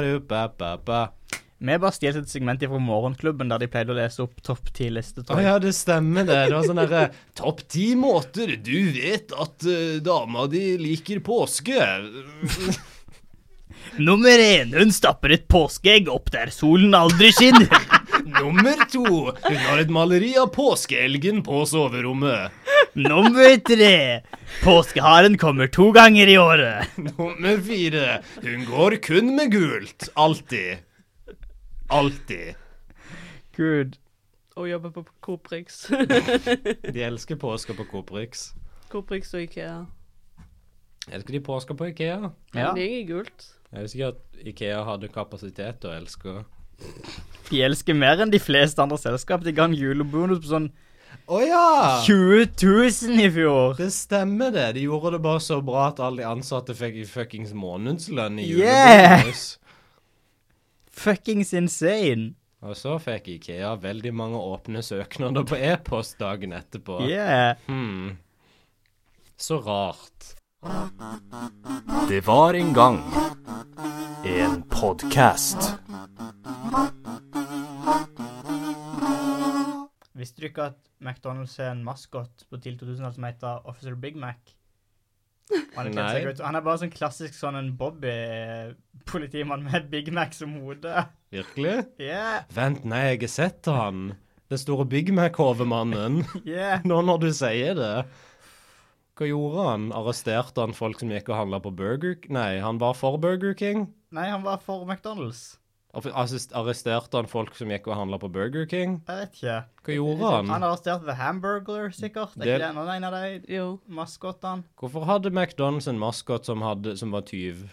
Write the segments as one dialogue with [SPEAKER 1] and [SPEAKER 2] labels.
[SPEAKER 1] Å
[SPEAKER 2] Vi bare stjal et segment fra Morgenklubben, der de pleide å lese opp topp ti-liste.
[SPEAKER 1] ja, det stemmer det. Det var sånn derre Topp ti måter du vet at eh, dama di liker påske.
[SPEAKER 2] Nummer én, hun stapper et påskeegg opp der solen aldri skinner.
[SPEAKER 1] Nummer to Hun har et maleri av påskeelgen på soverommet.
[SPEAKER 2] Nummer tre, påskeharen kommer to ganger i året.
[SPEAKER 1] Nummer fire Hun går kun med gult. Alltid. Alltid.
[SPEAKER 2] Gud.
[SPEAKER 3] Og jobber på Coop Rix.
[SPEAKER 1] De elsker påske på Coop Rix.
[SPEAKER 3] Coop Rix og Ikea.
[SPEAKER 1] Elsker de påske på Ikea?
[SPEAKER 2] Ja,
[SPEAKER 3] Men Det er gult.
[SPEAKER 1] Jeg visste ikke at Ikea hadde kapasitet til å elske
[SPEAKER 2] De elsker mer enn de fleste andre selskap. De ga en julebonus på sånn
[SPEAKER 1] Å ja!
[SPEAKER 2] 20 000 i fjor.
[SPEAKER 1] Det stemmer det. De gjorde det bare så bra at alle de ansatte fikk fuckings månedslønn i
[SPEAKER 2] Yeah!
[SPEAKER 1] julebonus.
[SPEAKER 2] Fuckings insane.
[SPEAKER 1] Og så fikk Ikea veldig mange åpne søknader på e-post dagen etterpå.
[SPEAKER 2] Yeah.
[SPEAKER 1] Hmm. Så rart.
[SPEAKER 4] Det var en gang en podkast.
[SPEAKER 2] Visste du ikke at McDonald's er en maskot på TIL 2000 som heter Officer Big Mac? Og Han er, kledd seg
[SPEAKER 1] Nei.
[SPEAKER 2] ut- han er bare sånn klassisk sånn en Bobby-politimann med Big Mac som hode.
[SPEAKER 1] Virkelig?
[SPEAKER 2] Yeah,
[SPEAKER 1] Vent, nei, jeg har sett han. Den store Big Mac-hovemannen.
[SPEAKER 2] yeah.
[SPEAKER 1] Nå når du sier det. Hva gjorde han? Arresterte han folk som gikk og handla på Burger K- Nei, han var for Burger King?
[SPEAKER 2] Nei, han var for McDonald's.
[SPEAKER 1] Ar- assist- Arresterte han folk som gikk og handla på Burger King?
[SPEAKER 2] Jeg vet ikke.
[SPEAKER 1] Hva gjorde
[SPEAKER 2] Han
[SPEAKER 1] han?
[SPEAKER 2] har arrestert The Hamburglar, sikkert. Er
[SPEAKER 1] Det-
[SPEAKER 2] ikke det en av en av de
[SPEAKER 3] Jo.
[SPEAKER 2] maskotene?
[SPEAKER 1] Hvorfor hadde McDonald's en maskot som, hadde- som var tyv?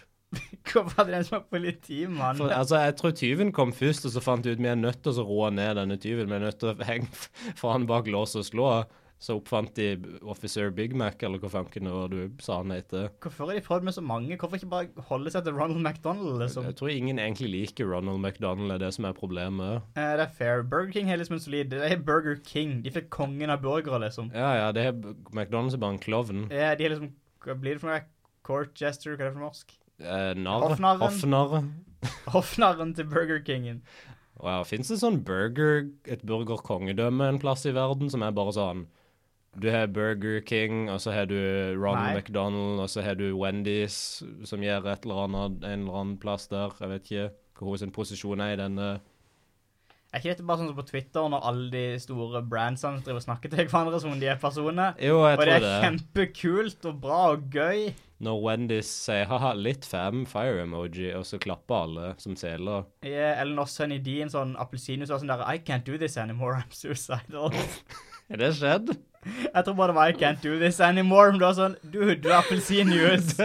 [SPEAKER 2] Hvorfor hadde de en som var politimann?
[SPEAKER 1] For, altså, jeg tror tyven kom først, og så fant de ut vi er nødt til å roe ned denne tyven. Vi er nødt til å henge f- fra han bak lås og slå. Så oppfant de Officer Big Mac, eller hva fanken det var du sa han heter.
[SPEAKER 2] Hvorfor har de prøvd med så mange? Hvorfor ikke bare holde seg til Ronald McDonald? Liksom?
[SPEAKER 1] Jeg tror ingen egentlig liker Ronald McDonald, er det som er problemet.
[SPEAKER 2] Eh, det er fair. Burger King har liksom en solid Det er Burger King. De fikk kongen av burgere, liksom.
[SPEAKER 1] Ja, ja, det er, McDonald's er bare en klovn.
[SPEAKER 2] Ja, de er liksom Hva blir det for noe? Court jester? Hva er det for norsk?
[SPEAKER 1] Eh, narr.
[SPEAKER 2] Hoffnarren.
[SPEAKER 1] Hoffnarr.
[SPEAKER 2] Mhm. Hoffnarren til Burger Kingen.
[SPEAKER 1] Wow, Fins det sånn burger, et burgerkongedømme en plass i verden som er bare sånn Du har Burger King, og så har du Ronald
[SPEAKER 2] Nei.
[SPEAKER 1] McDonald, og så har du Wendy's, som gjør et eller annet en eller annen plass der. Jeg vet ikke hva hennes posisjon er i denne.
[SPEAKER 2] Er ikke dette bare sånn som på Twitter, når alle de store brandsene driver og snakker til hverandre som om de er personer?
[SPEAKER 1] Jo, jeg
[SPEAKER 2] Og det
[SPEAKER 1] tror
[SPEAKER 2] er
[SPEAKER 1] det.
[SPEAKER 2] kjempekult og bra og gøy.
[SPEAKER 1] Når Wendy's sier ha-ha, litt fam, fire emoji, og så klapper alle som seler.
[SPEAKER 2] Ja, eller når Sunny D en sånn appelsinjuice var sånn der I can't do this anymore, I'm suicidal.
[SPEAKER 1] Er det skjedd?
[SPEAKER 2] Jeg tror bare det var I can't do this anymore, men det var sånn Dude, du er appelsinjuice.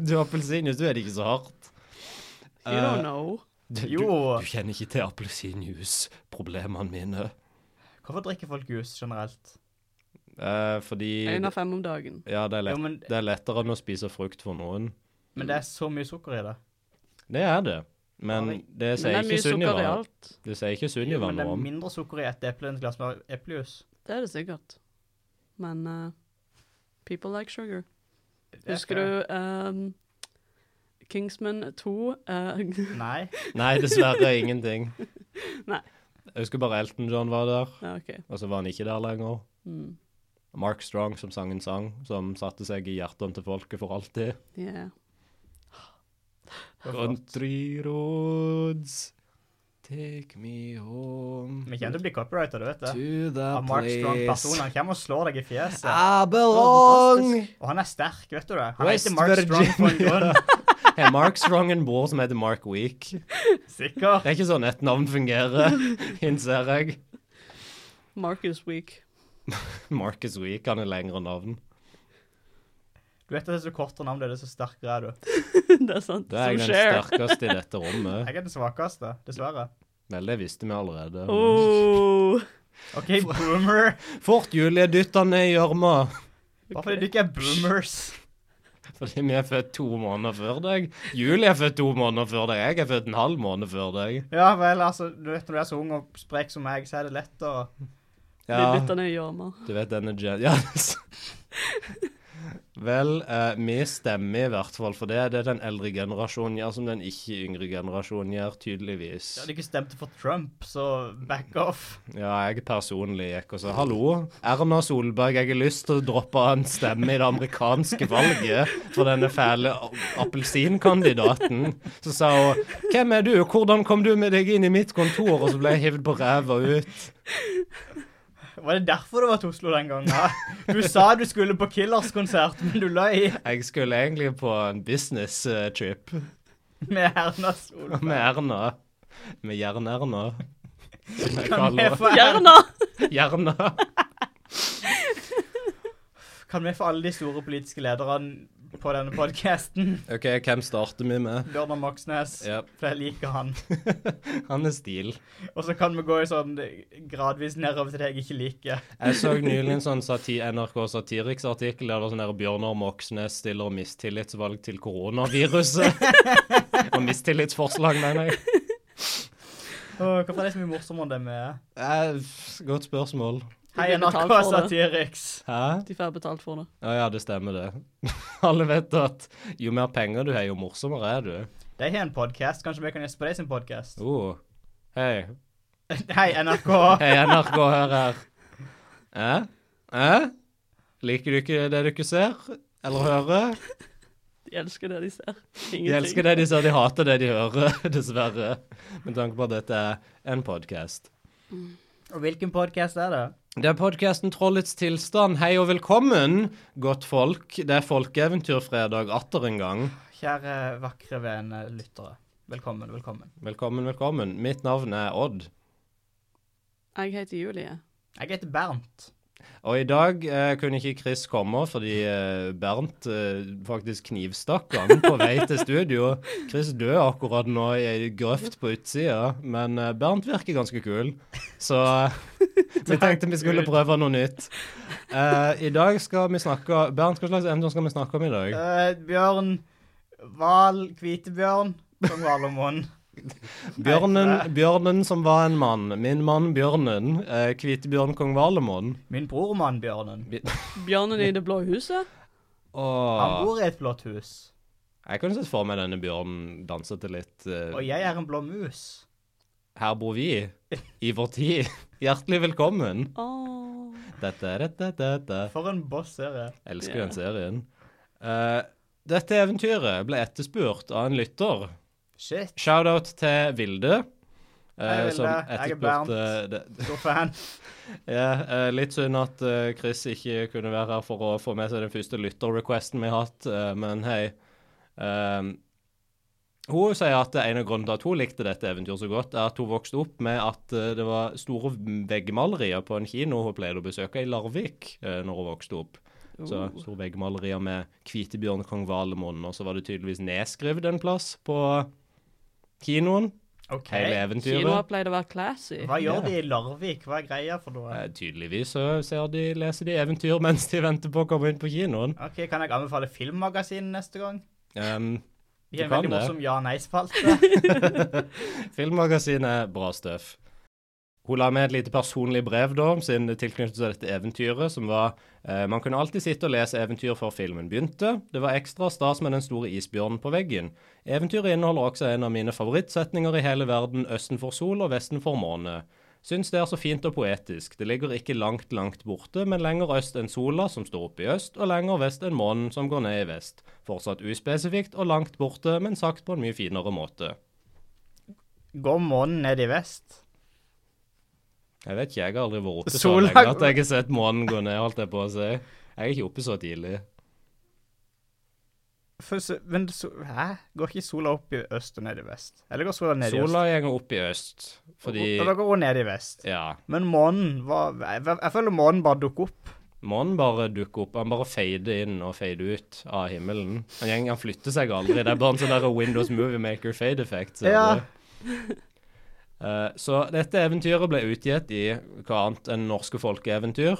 [SPEAKER 1] du har appelsinjuice, du er det ikke så hardt.
[SPEAKER 3] You
[SPEAKER 1] Eh,
[SPEAKER 3] don't know.
[SPEAKER 1] Du, du,
[SPEAKER 2] Jo.
[SPEAKER 1] du kjenner ikke til appelsinjuice-problemene mine.
[SPEAKER 2] Hvorfor drikker folk juice generelt?
[SPEAKER 1] Eh, fordi
[SPEAKER 3] Én av fem om dagen.
[SPEAKER 1] Ja, det er, lett,
[SPEAKER 2] Jo, men-
[SPEAKER 1] det er lettere enn å spise frukt for noen.
[SPEAKER 2] Men det er så mye sukker i det. det
[SPEAKER 1] Det er det. Men det
[SPEAKER 3] Men det
[SPEAKER 1] sier
[SPEAKER 3] er
[SPEAKER 1] ikke
[SPEAKER 3] mye sukker i
[SPEAKER 1] Sunniva.
[SPEAKER 3] alt.
[SPEAKER 1] Det sier ikke Sunniva
[SPEAKER 2] men det
[SPEAKER 1] noe
[SPEAKER 2] er
[SPEAKER 1] om.
[SPEAKER 2] mindre sukker i et eple enn et glass med eplejuice.
[SPEAKER 3] Det er det sikkert. Men eh, people like sugar.
[SPEAKER 2] Det er
[SPEAKER 3] Husker
[SPEAKER 2] fair.
[SPEAKER 3] du ehm, Kingsman 2? eh,
[SPEAKER 2] Nei.
[SPEAKER 1] Nei, dessverre ingenting.
[SPEAKER 3] Nei.
[SPEAKER 1] Jeg husker bare Elton John var der,
[SPEAKER 3] ja, OK.
[SPEAKER 1] og så var han ikke der lenger.
[SPEAKER 3] Mm.
[SPEAKER 1] Mark Strong som sang en sang som satte seg i hjertene til folket for alltid.
[SPEAKER 3] Yeah.
[SPEAKER 2] Det var flott.
[SPEAKER 1] Country roads, take me home
[SPEAKER 2] Vi kommer til å bli copyrighta, du vet det.
[SPEAKER 1] to
[SPEAKER 2] Av
[SPEAKER 1] the
[SPEAKER 2] Mark Strong personen.
[SPEAKER 1] place
[SPEAKER 2] Han kommer og slår deg i fjeset.
[SPEAKER 1] I belong.
[SPEAKER 2] Og han er sterk, vet du det. Han
[SPEAKER 1] West
[SPEAKER 2] heter Mark Strong for en
[SPEAKER 1] Virginia.
[SPEAKER 2] grunn.
[SPEAKER 1] Har Mark Strong en bror som heter Mark Weak?
[SPEAKER 2] Sikker.
[SPEAKER 1] Det er ikke sånn et navn fungerer, innser jeg.
[SPEAKER 3] Marcus Week.
[SPEAKER 1] Marcus Weak han er lengre navn.
[SPEAKER 2] Du vet at det er så kortere navn, det er så sterkere er du.
[SPEAKER 3] det er sant.
[SPEAKER 1] Da er
[SPEAKER 3] Som
[SPEAKER 1] jeg den
[SPEAKER 3] share.
[SPEAKER 1] sterkeste i dette rommet.
[SPEAKER 2] Jeg er den svakeste, dessverre.
[SPEAKER 1] Vel, det visste vi allerede. men-
[SPEAKER 3] Oh,
[SPEAKER 2] OK, boomer.
[SPEAKER 1] Fort, Julie, dytt han ned i gjørma!
[SPEAKER 2] Bare fordi du ikke er boomers.
[SPEAKER 1] Fordi vi er født to måneder før deg. Julie er født to måneder før deg. Jeg er født en halv måned før deg.
[SPEAKER 2] Ja vel, altså, du vet når du er så ung og sprek som meg, så er det lett å
[SPEAKER 3] ja.
[SPEAKER 1] Ja,
[SPEAKER 3] Litt av nøye gjørma.
[SPEAKER 1] du vet denne gen... Ja. Vel, eh, vi stemmer i hvert fall for det. Det den eldre generasjonen gjør, som den ikke yngre generasjonen gjør, tydeligvis.
[SPEAKER 2] Jeg hadde ikke stemt for Trump, så back off.
[SPEAKER 1] Ja, jeg personlig gikk og sa hallo, Erna Solberg, jeg har lyst til å droppe en stemme i det amerikanske valget for denne fæle a- appelsinkandidaten. Så sa hun hvem er du, hvordan kom du med deg inn i mitt kontor? Og så ble jeg hivd på ræva ut.
[SPEAKER 2] Var det derfor du var til Oslo den gangen? Ja? Du sa du skulle på Killers-konsert, men du løy
[SPEAKER 1] Jeg skulle egentlig på en business eh, trip
[SPEAKER 2] med Erna Solberg.
[SPEAKER 1] med Erna. Med Jern-Erna. som jeg
[SPEAKER 2] Kan vi
[SPEAKER 1] kaller
[SPEAKER 2] få Erna?
[SPEAKER 3] Gjerne!
[SPEAKER 1] henne. Jerna.
[SPEAKER 2] Kan vi få alle de store politiske lederne på denne podcasten?
[SPEAKER 1] OK, hvem starter vi med?
[SPEAKER 2] Bjørnar Moxnes,
[SPEAKER 1] Ja,
[SPEAKER 2] for jeg liker han.
[SPEAKER 1] han er stil.
[SPEAKER 2] Og så kan vi gå i sånn gradvis nedover til det jeg ikke liker.
[SPEAKER 1] Jeg så nylig en sånn sati NRK Satiriks-artikkel der det var sånn der Bjørnar Moxnes stiller mistillitsvalg til koronaviruset. Og mistillitsforslag, mener jeg.
[SPEAKER 2] Åh, Hvorfor er det så mye morsommere enn det vi er?
[SPEAKER 1] Eh, f- Godt spørsmål.
[SPEAKER 2] Hei,
[SPEAKER 3] blir
[SPEAKER 2] NRK
[SPEAKER 3] betalt for det.
[SPEAKER 2] Satiriks.
[SPEAKER 1] Hæ?
[SPEAKER 3] De får betalt for det.
[SPEAKER 1] Å ja, det stemmer, det. Alle vet at jo mer penger du har, jo morsommere er du.
[SPEAKER 2] De har en podcast. Kanskje vi kan gjeste på deg sin podcast?
[SPEAKER 1] Oh. Hei.
[SPEAKER 2] Hei, NRK.
[SPEAKER 1] Hei, NRK, hør her. Eh? Eh? Liker du ikke det du ikke ser? Eller hører?
[SPEAKER 3] De elsker det de ser.
[SPEAKER 1] De elsker det de ser, de hater det de hører, dessverre. Med tanke på at dette er en podkast.
[SPEAKER 2] Og hvilken podcast er det?
[SPEAKER 1] Det er podkasten Trollets tilstand. Hei og velkommen, godt folk. Det er folkeeventyrfredag atter en gang.
[SPEAKER 2] Kjære vakre vene lyttere. Velkommen, velkommen.
[SPEAKER 1] Velkommen, velkommen. Mitt navn er Odd.
[SPEAKER 3] Jeg heter Julie.
[SPEAKER 2] Jeg heter Bernt.
[SPEAKER 1] Og i dag eh, kunne ikke Chris komme fordi eh, Bernt eh, faktisk knivstakk han på vei til studio. Chris dør akkurat nå i ei grøft på utsida, men eh, Bernt virker ganske kul. Så eh, vi tenkte vi skulle prøve noe nytt. Eh, I dag skal vi snakke Bernt, hva slags emne skal vi snakke om i dag?
[SPEAKER 2] Eh, bjørn. Val. Hvitebjørn. Kong Valemon.
[SPEAKER 1] Bjørnen, bjørnen som var en mann. Min mann Bjørnen. Eh, Hvitebjørn kong Valemon.
[SPEAKER 2] Min brormann Bjørnen.
[SPEAKER 3] Bjørnen i det blå huset.
[SPEAKER 2] Han
[SPEAKER 1] Og
[SPEAKER 2] bor i et blått hus.
[SPEAKER 1] jeg kunne sett for meg denne bjørnen danse til litt eh,
[SPEAKER 2] Og jeg er en blå mus.
[SPEAKER 1] Her bor vi, i vår tid. Hjertelig velkommen.
[SPEAKER 3] Åh.
[SPEAKER 1] Dette er dette, dette.
[SPEAKER 2] For en boss-serie.
[SPEAKER 1] Elsker
[SPEAKER 3] Ja.
[SPEAKER 1] den serien. Eh, dette eventyret ble etterspurt av en lytter.
[SPEAKER 2] Shit.
[SPEAKER 1] Shoutout til Vilde.
[SPEAKER 2] Hei, Vilde. Jeg er Bernt.
[SPEAKER 1] eh, det-
[SPEAKER 2] Stor fan.
[SPEAKER 1] Ja, eh, litt synd at eh, Chris ikke kunne være her for å få med seg den første lytter-requesten vi har hatt, eh, men hei. Ehm, hun sier at en av grunnene til at hun likte dette eventyret så godt, er at hun vokste opp med at eh, det var store veggmalerier på en kino hun pleide å besøke i Larvik uh, når hun vokste opp. Så
[SPEAKER 3] Oh.
[SPEAKER 1] store veggmalerier med Kvitebjørn, Kong Valemon, og så var det tydeligvis nedskrevet en plass på kinoen.
[SPEAKER 2] OK.
[SPEAKER 1] Hele eventyret.
[SPEAKER 3] Kinoer pleide å være classy.
[SPEAKER 2] Hva gjør de i Larvik? Hva er greia for noe?
[SPEAKER 1] Eh, Tydeligvis så ser de, leser de eventyr mens de venter på å komme inn på kinoen.
[SPEAKER 2] OK, kan jeg anbefale Filmmagasinet neste gang?
[SPEAKER 1] Ehm,
[SPEAKER 2] De har en
[SPEAKER 1] Du kan
[SPEAKER 2] veldig
[SPEAKER 1] det.
[SPEAKER 2] morsom ja-nei-spalte.
[SPEAKER 1] filmmagasinet, bra støff. Hun la med et lite personlig brev da, om sin tilknytning til dette eventyret, som var eh, Man kunne alltid sitte og lese eventyr før filmen begynte. Det var ekstra stas med den store isbjørnen på veggen. Eventyret inneholder også en av mine favorittsetninger i hele verden, østen for sol og vesten for måne. Syns det er så fint og poetisk. Det ligger ikke langt, langt borte, men lenger øst enn sola, som står oppe i øst, og lenger vest enn månen, som går ned i vest. Fortsatt uspesifikt og langt borte, men sagt på en mye finere måte.
[SPEAKER 2] Går månen ned i vest?
[SPEAKER 1] Jeg vet ikke, jeg har aldri vært oppe så
[SPEAKER 2] Sola-
[SPEAKER 1] lenge at jeg ikke har sett månen gå ned, holdt jeg på å si. Jeg er ikke oppe så tidlig.
[SPEAKER 2] For, så- men så, hæ? Går ikke sola opp i øst og ned i vest? Eller går sola ned i øst?
[SPEAKER 1] Sola går opp i øst, fordi
[SPEAKER 2] Eller går hun ned i vest?
[SPEAKER 1] Ja.
[SPEAKER 2] Men månen var jeg, jeg føler månen bare dukker opp.
[SPEAKER 1] Månen bare dukker opp. Han bare fader inn og fader ut av himmelen. Han, gjeng, han flytter seg aldri. Det er bare en sånn der Windows Movie Maker fade effect. ser
[SPEAKER 2] Ja.
[SPEAKER 1] du. Eh, så dette eventyret ble utgitt i hva annet enn norske folkeeventyr.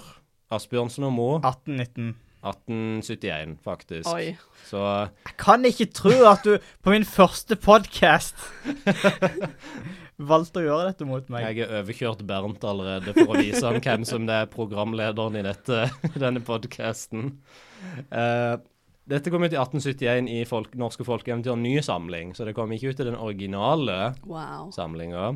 [SPEAKER 1] Asbjørnsen og Moe
[SPEAKER 2] 1819.
[SPEAKER 1] 1871, faktisk.
[SPEAKER 3] Oi.
[SPEAKER 1] Så eh,
[SPEAKER 2] Jeg kan ikke tro at du på min første podkast valgt å gjøre dette mot meg.
[SPEAKER 1] Jeg har overkjørt Bernt allerede for å vise han hvem som det er programlederen i dette, denne podkasten. dette kom ut i 1871 i folk, Norske folkeeventyr Ny samling, så det kom ikke ut i den originale
[SPEAKER 3] Wow.
[SPEAKER 1] samlinga.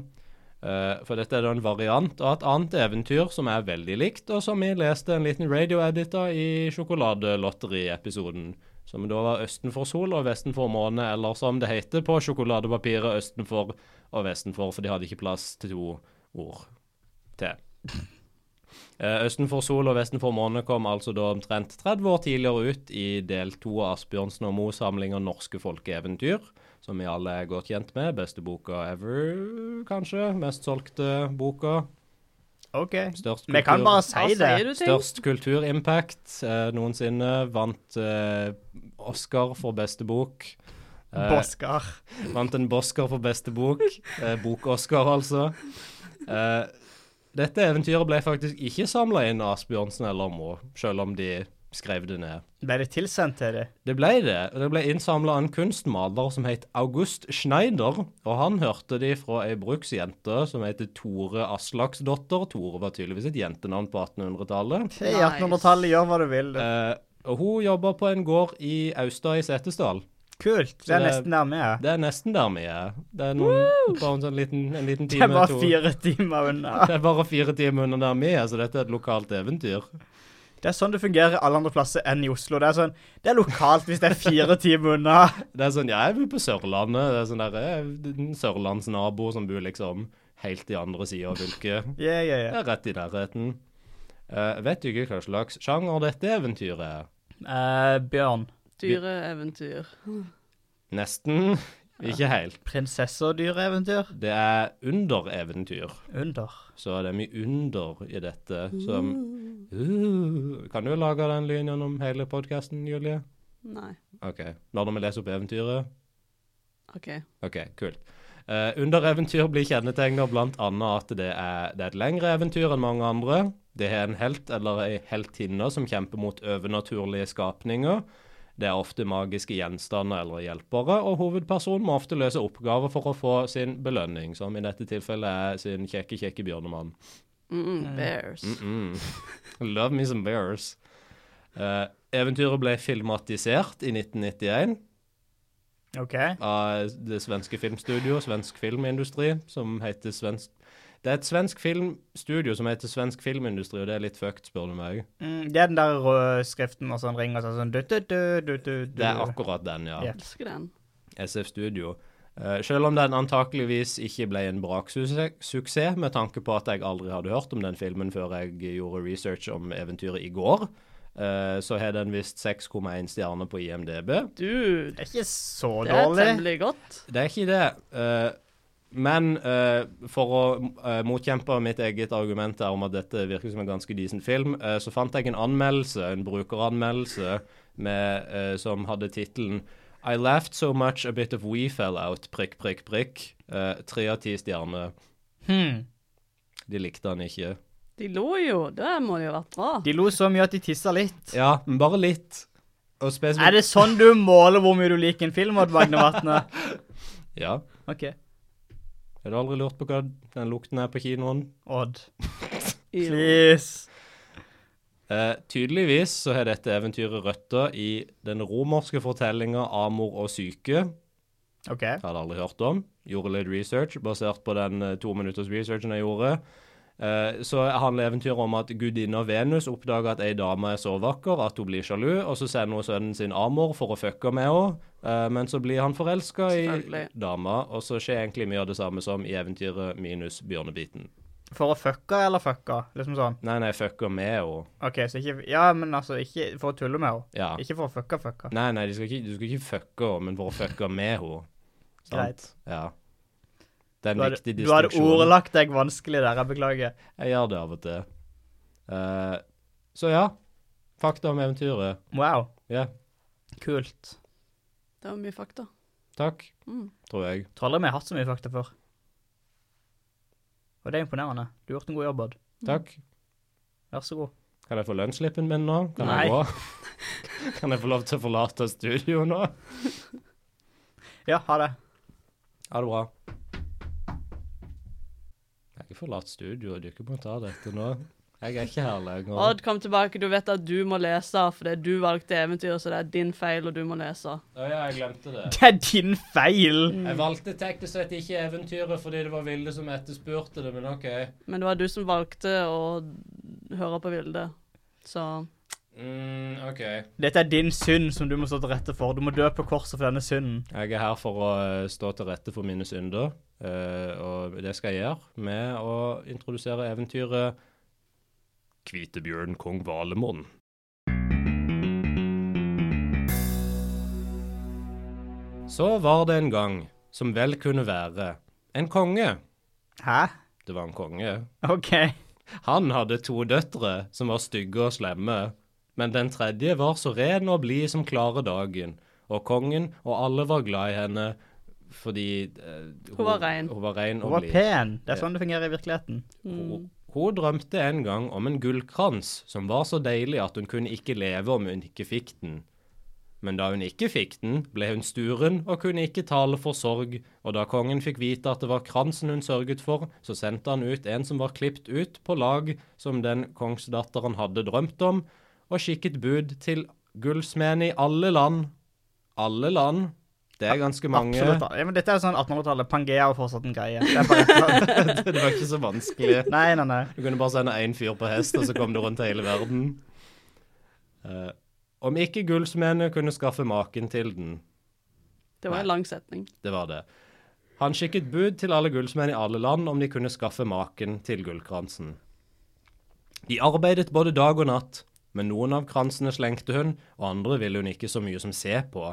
[SPEAKER 1] Eh, for dette er da en variant av et annet eventyr som er veldig likt, og som vi leste en liten radioedit av i Sjokoladelotteriepisoden. Som da var Østen for sol og Vesten for måne, eller som det heter på sjokoladepapiret Østen for og Vesten for, for de hadde ikke plass til to ord til. Eh, Østen for sol og Vesten for måne kom altså da omtrent 30 år tidligere ut i del to av Asbjørnsen og Moe-samlinga Norske folkeeventyr, som vi alle er godt kjent med. Beste boka ever, kanskje. Mest solgte boka.
[SPEAKER 2] OK.
[SPEAKER 1] Størst
[SPEAKER 2] Vi kan bare
[SPEAKER 3] Hva
[SPEAKER 2] si det.
[SPEAKER 3] sier du ting?
[SPEAKER 1] Størst kulturimpact eh, noensinne. Vant eh, Oscar for beste bok. Eh,
[SPEAKER 2] Boskar.
[SPEAKER 1] Vant en Bosker for beste bok. Eh, Bok-Oscar, altså. Eh, dette eventyret ble faktisk ikke samla inn av Asbjørnsen eller Moe, selv om de skrev det ned.
[SPEAKER 2] Ble det tilsendt til dem?
[SPEAKER 1] Det ble det. og Det ble innsamla en kunstmaler som het August Schneider, og han hørte de fra ei bruksjente som heter Tore Aslaksdotter. Tore var tydeligvis et jentenavn på 1800-tallet.
[SPEAKER 2] I 1800-tallet, gjør hva du vil. du.
[SPEAKER 1] Eh, og hun jobber på en gård i Austad i Setesdal.
[SPEAKER 2] Kult. Det er
[SPEAKER 1] det-
[SPEAKER 2] nesten der vi er.
[SPEAKER 1] Det er nesten der vi er. Det er noen, bare en sånn liten, en liten
[SPEAKER 2] Det
[SPEAKER 1] time.
[SPEAKER 2] er bare
[SPEAKER 1] to.
[SPEAKER 2] fire timer unna.
[SPEAKER 1] Det er bare fire timer under der vi er, så dette er et lokalt eventyr.
[SPEAKER 2] Det er sånn det fungerer alle andre plasser enn i Oslo. Det er sånn, det er lokalt hvis det er fire timer unna.
[SPEAKER 1] Det er sånn, ja, jeg bor på Sørlandet. Det er sånn der, jeg er en sørlandsnabo som bor liksom helt i andre sida av fylket.
[SPEAKER 2] Ja, ja,
[SPEAKER 1] Det
[SPEAKER 2] ja.
[SPEAKER 1] er rett i nærheten. Eh, vet du ikke hva slags sjanger dette eventyret er?
[SPEAKER 2] Eh, Bjørn.
[SPEAKER 3] Dyre eventyr.
[SPEAKER 1] Nesten. Ikke helt.
[SPEAKER 2] Prinsesse og dyreeventyr?
[SPEAKER 1] Det er undereventyr.
[SPEAKER 2] Under.
[SPEAKER 1] Så det er mye under i dette som uh, Kan du lage den lyden gjennom hele podkasten, Julie?
[SPEAKER 3] Nei.
[SPEAKER 1] OK. Når vi leser opp eventyret?
[SPEAKER 3] OK.
[SPEAKER 1] OK, kult. Eh, under eventyr blir kjennetegnet blant annet at det er, det er et lengre eventyr enn mange andre. Det har en helt eller ei heltinne som kjemper mot overnaturlige skapninger. Det er ofte magiske gjenstander eller hjelpere, og hovedpersonen må ofte løse oppgaver for å få sin belønning, som i dette tilfellet er sin kjekke, kjekke bjørnemann.
[SPEAKER 3] Mm -mm. Bears.
[SPEAKER 1] Mm -mm. Love me some bears. Eh, eventyret ble filmatisert i 1991
[SPEAKER 2] OK.
[SPEAKER 1] av det svenske filmstudio, Svensk Filmindustri, som heter Svensk Det er et svensk filmstudio som heter Svensk Filmindustri, og det er litt fucked, spør du meg.
[SPEAKER 2] Mm, det er den der røde skriften med sånn ring og sånn du, du, du, du, du, du.
[SPEAKER 1] Det er akkurat den, ja.
[SPEAKER 2] Ja.
[SPEAKER 3] Elsker den.
[SPEAKER 1] SF Studio. Eh, selv om den antakeligvis ikke ble en braksuksess, med tanke på at jeg aldri hadde hørt om den filmen før jeg gjorde research om eventyret i går, eh, så har den visst 6,1 stjerner på IMDb.
[SPEAKER 3] Dude.
[SPEAKER 2] Det er ikke så
[SPEAKER 3] Det er
[SPEAKER 2] dårlig.
[SPEAKER 3] temmelig godt.
[SPEAKER 1] Det er ikke det. eh, men eh, for å eh, motkjempe mitt eget argument her om at dette virker som en ganske decent film, eh, så fant jeg en anmeldelse, en brukeranmeldelse, med, eh, som hadde tittelen I laughed so much a bit of we fell out, prikk, prikk, prikk. Eh, Tre av ti stjerner.
[SPEAKER 2] Hmm.
[SPEAKER 1] De likte han ikke.
[SPEAKER 3] De lo jo. Det må jo ha vært bra.
[SPEAKER 2] De lo så mye at de tissa litt.
[SPEAKER 1] Ja, men bare litt. Og spesifikt
[SPEAKER 2] Er det sånn du måler hvor mye du liker en film, Odd Magne Vatne?
[SPEAKER 1] Ja.
[SPEAKER 2] OK.
[SPEAKER 1] Har du aldri lurt på hva den lukten er på kinoen?
[SPEAKER 2] Odd.
[SPEAKER 3] Jo.
[SPEAKER 2] Please.
[SPEAKER 1] Eh, tydeligvis så har dette eventyret røtter i den romerske fortellinga 'Amor og syke'.
[SPEAKER 2] OK.
[SPEAKER 1] Hadde aldri hørt om. Gjorde litt research basert på den eh, to minutters researchen jeg gjorde. Eh, så handler eventyret om at gudinna Venus oppdager at ei dame er så vakker at hun blir sjalu, og så sender hun sønnen sin Amor for å fucke med henne. Eh, men så blir han forelska i
[SPEAKER 3] Selvfølgelig.
[SPEAKER 1] dama, og så skjer egentlig mye av det samme som i eventyret minus bjørnebiten.
[SPEAKER 2] For å fucke eller fucka? Liksom sånn.
[SPEAKER 1] Nei, nei, fucker med henne.
[SPEAKER 2] OK, så ikke Ja, men altså, ikke for å tulle med henne.
[SPEAKER 1] Ja.
[SPEAKER 2] Ikke for å fucka fucka.
[SPEAKER 1] Nei, nei, de skal ikke, du skal ikke fucke henne, men for å fucke med henne. Sant?
[SPEAKER 2] Greit.
[SPEAKER 1] Ja. Det er
[SPEAKER 2] Du
[SPEAKER 1] en
[SPEAKER 2] hadde,
[SPEAKER 1] viktig
[SPEAKER 2] du hadde
[SPEAKER 1] distinksjon.
[SPEAKER 2] ordlagt deg vanskelig der, jeg beklager.
[SPEAKER 1] Jeg gjør det av og til. Eh, så ja. Fakta om eventyret.
[SPEAKER 2] Wow,
[SPEAKER 1] Ja,
[SPEAKER 2] kult.
[SPEAKER 3] Det var mye fakta.
[SPEAKER 1] takk,
[SPEAKER 3] Mm.
[SPEAKER 1] tror jeg.
[SPEAKER 2] Tror aldri vi har hatt så mye fakta før. Og det er imponerende. Du har gjort en god jobb, Odd.
[SPEAKER 1] Takk.
[SPEAKER 2] Vær så god.
[SPEAKER 1] Kan jeg få lønnsslippen min nå? Kan
[SPEAKER 2] Nei.
[SPEAKER 1] Jeg gå? kan jeg få lov til å forlate studio nå?
[SPEAKER 2] Ja, ha det.
[SPEAKER 1] Ha det bra. ikke forlate studioet, du ikke må ta dette nå. Jeg er ikke her lenger.
[SPEAKER 3] Odd, kom tilbake. Du vet at du må lese, for det er du valgte eventyret, så det er din feil, og du må lese.
[SPEAKER 1] Å ja, jeg glemte det.
[SPEAKER 2] Det er din feil!
[SPEAKER 3] Mm.
[SPEAKER 1] Jeg valgte teknisk sett ikke eventyret fordi det var Vilde som etterspurte det, men OK.
[SPEAKER 3] Men det var du som valgte å høre på Vilde, så
[SPEAKER 1] Mm, OK.
[SPEAKER 2] Dette er din synd som du må stå til rette for. Du må dø på korset for denne synden.
[SPEAKER 1] Jeg er her for å eh, stå til rette for mine synder, eh, og det skal jeg gjøre med å introdusere eventyret Kvitebjørn kong Valemon. Så var det en gang, som vel kunne være, en konge.
[SPEAKER 2] Hæ?
[SPEAKER 1] Det var en konge.
[SPEAKER 2] OK.
[SPEAKER 1] Han hadde to døtre som var stygge og slemme, men den tredje var så ren og blid som klare dagen, og kongen og alle var glad i henne fordi eh,
[SPEAKER 3] Hun var ren.
[SPEAKER 1] Hun var ren
[SPEAKER 2] Hun
[SPEAKER 1] og
[SPEAKER 2] var
[SPEAKER 1] blid.
[SPEAKER 2] pen. Det er sånn det fungerer i virkeligheten.
[SPEAKER 3] Mm,
[SPEAKER 2] Mm.
[SPEAKER 1] Hun, hun drømte en gang om en gullkrans som var så deilig at hun kunne ikke leve om hun ikke fikk den. Men da hun ikke fikk den, ble hun sturen og kunne ikke tale for sorg, og da kongen fikk vite at det var kransen hun sørget for, så sendte han ut en som var klipt ut på lag som den kongsdatteren hadde drømt om, og skikket bud til gullsmeden i alle land. Alle land. Det er ganske mange.
[SPEAKER 2] Absolutt. Ja, men dette er sånn 1800-tallet. Pangea var fortsatt en greie. Det er bare
[SPEAKER 1] Det var ikke så vanskelig.
[SPEAKER 2] nei, nei, nei.
[SPEAKER 1] Du kunne bare sende én fyr på hest, og så kom du rundt hele verden. Eh, om ikke gullsmedene kunne skaffe maken til den.
[SPEAKER 3] Det var en lang setning.
[SPEAKER 1] Det var det. Han skikket bud til alle gullsmenn i alle land om de kunne skaffe maken til gullkransen. De arbeidet både dag og natt, men noen av kransene slengte hun, og andre ville hun ikke så mye som se på.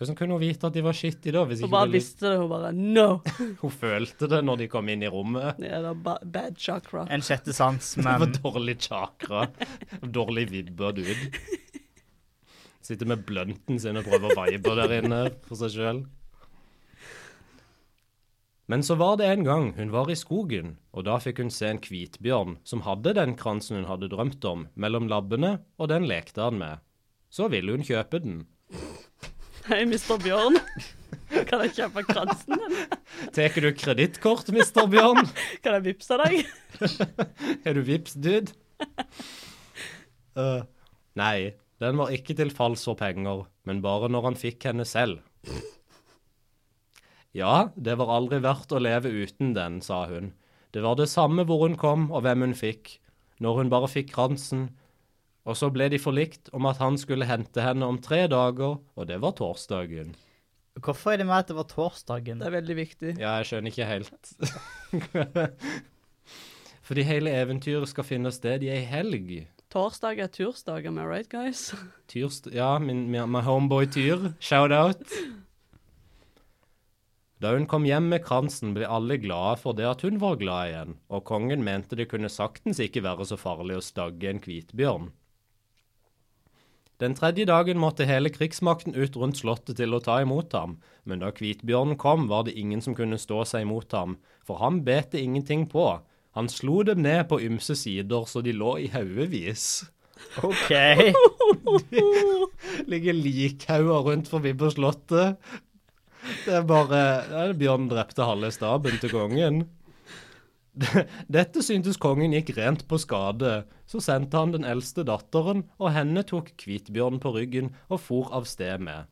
[SPEAKER 1] Hvordan kunne hun vite at de var skittige da? Hvis
[SPEAKER 3] Hun
[SPEAKER 1] ikke
[SPEAKER 3] bare
[SPEAKER 1] hun, ville-
[SPEAKER 3] visste det. Hun bare No!
[SPEAKER 1] hun følte det når de kom inn i rommet.
[SPEAKER 3] Det er da ba bad chakra.
[SPEAKER 2] En sjette sans,
[SPEAKER 1] Det
[SPEAKER 2] men
[SPEAKER 1] var dårlig chakra. Dårlig vibber, dude. Sitter med blunten sin og prøver å vibe der inne for seg sjøl. Men så var det en gang hun var i skogen, og da fikk hun se en hvitbjørn som hadde den kransen hun hadde drømt om, mellom labbene, og den lekte han med. Så ville hun kjøpe den.
[SPEAKER 3] Hei, Mr. Bjørn. Kan jeg kjøpe kransen din?
[SPEAKER 1] Tar du kredittkort, mister Bjørn?
[SPEAKER 3] Kan jeg vippse deg?
[SPEAKER 1] Er du vips, dude? Eh, Nei, den var ikke til falls for penger, men bare når han fikk henne selv. Ja, det var aldri verdt å leve uten den, sa hun. Det var det samme hvor hun kom og hvem hun fikk, når hun bare fikk kransen. Og så ble de forlikt om at han skulle hente henne om tre dager, og det var torsdagen.
[SPEAKER 2] hvorfor er det med at det var torsdagen?
[SPEAKER 3] Det er veldig viktig.
[SPEAKER 1] Ja, jeg skjønner ikke helt. Fordi hele eventyret skal finne sted i ei helg.
[SPEAKER 3] Torsdag er tursdag, am I right, guys?
[SPEAKER 1] Tyrst, ja, min, min, my homeboy Tyr. Shout out. Da hun kom hjem med kransen, ble alle glade for det at hun var glad igjen, og kongen mente det kunne saktens ikke være så farlig å stagge en hvitbjørn. Den tredje dagen måtte hele krigsmakten ut rundt slottet til å ta imot ham, men da hvitbjørnen kom, var det ingen som kunne stå seg imot ham, for ham bet det ingenting på. Han slo dem ned på ymse sider, så de lå i haugevis
[SPEAKER 2] OK.
[SPEAKER 1] ligger likhauger rundt forbi på slottet. Det er bare ja, Bjørn drepte halve staben til kongen. Dette syntes kongen gikk rent på skade, så sendte han den eldste datteren, og henne tok Kvitbjørn på ryggen og for av sted med.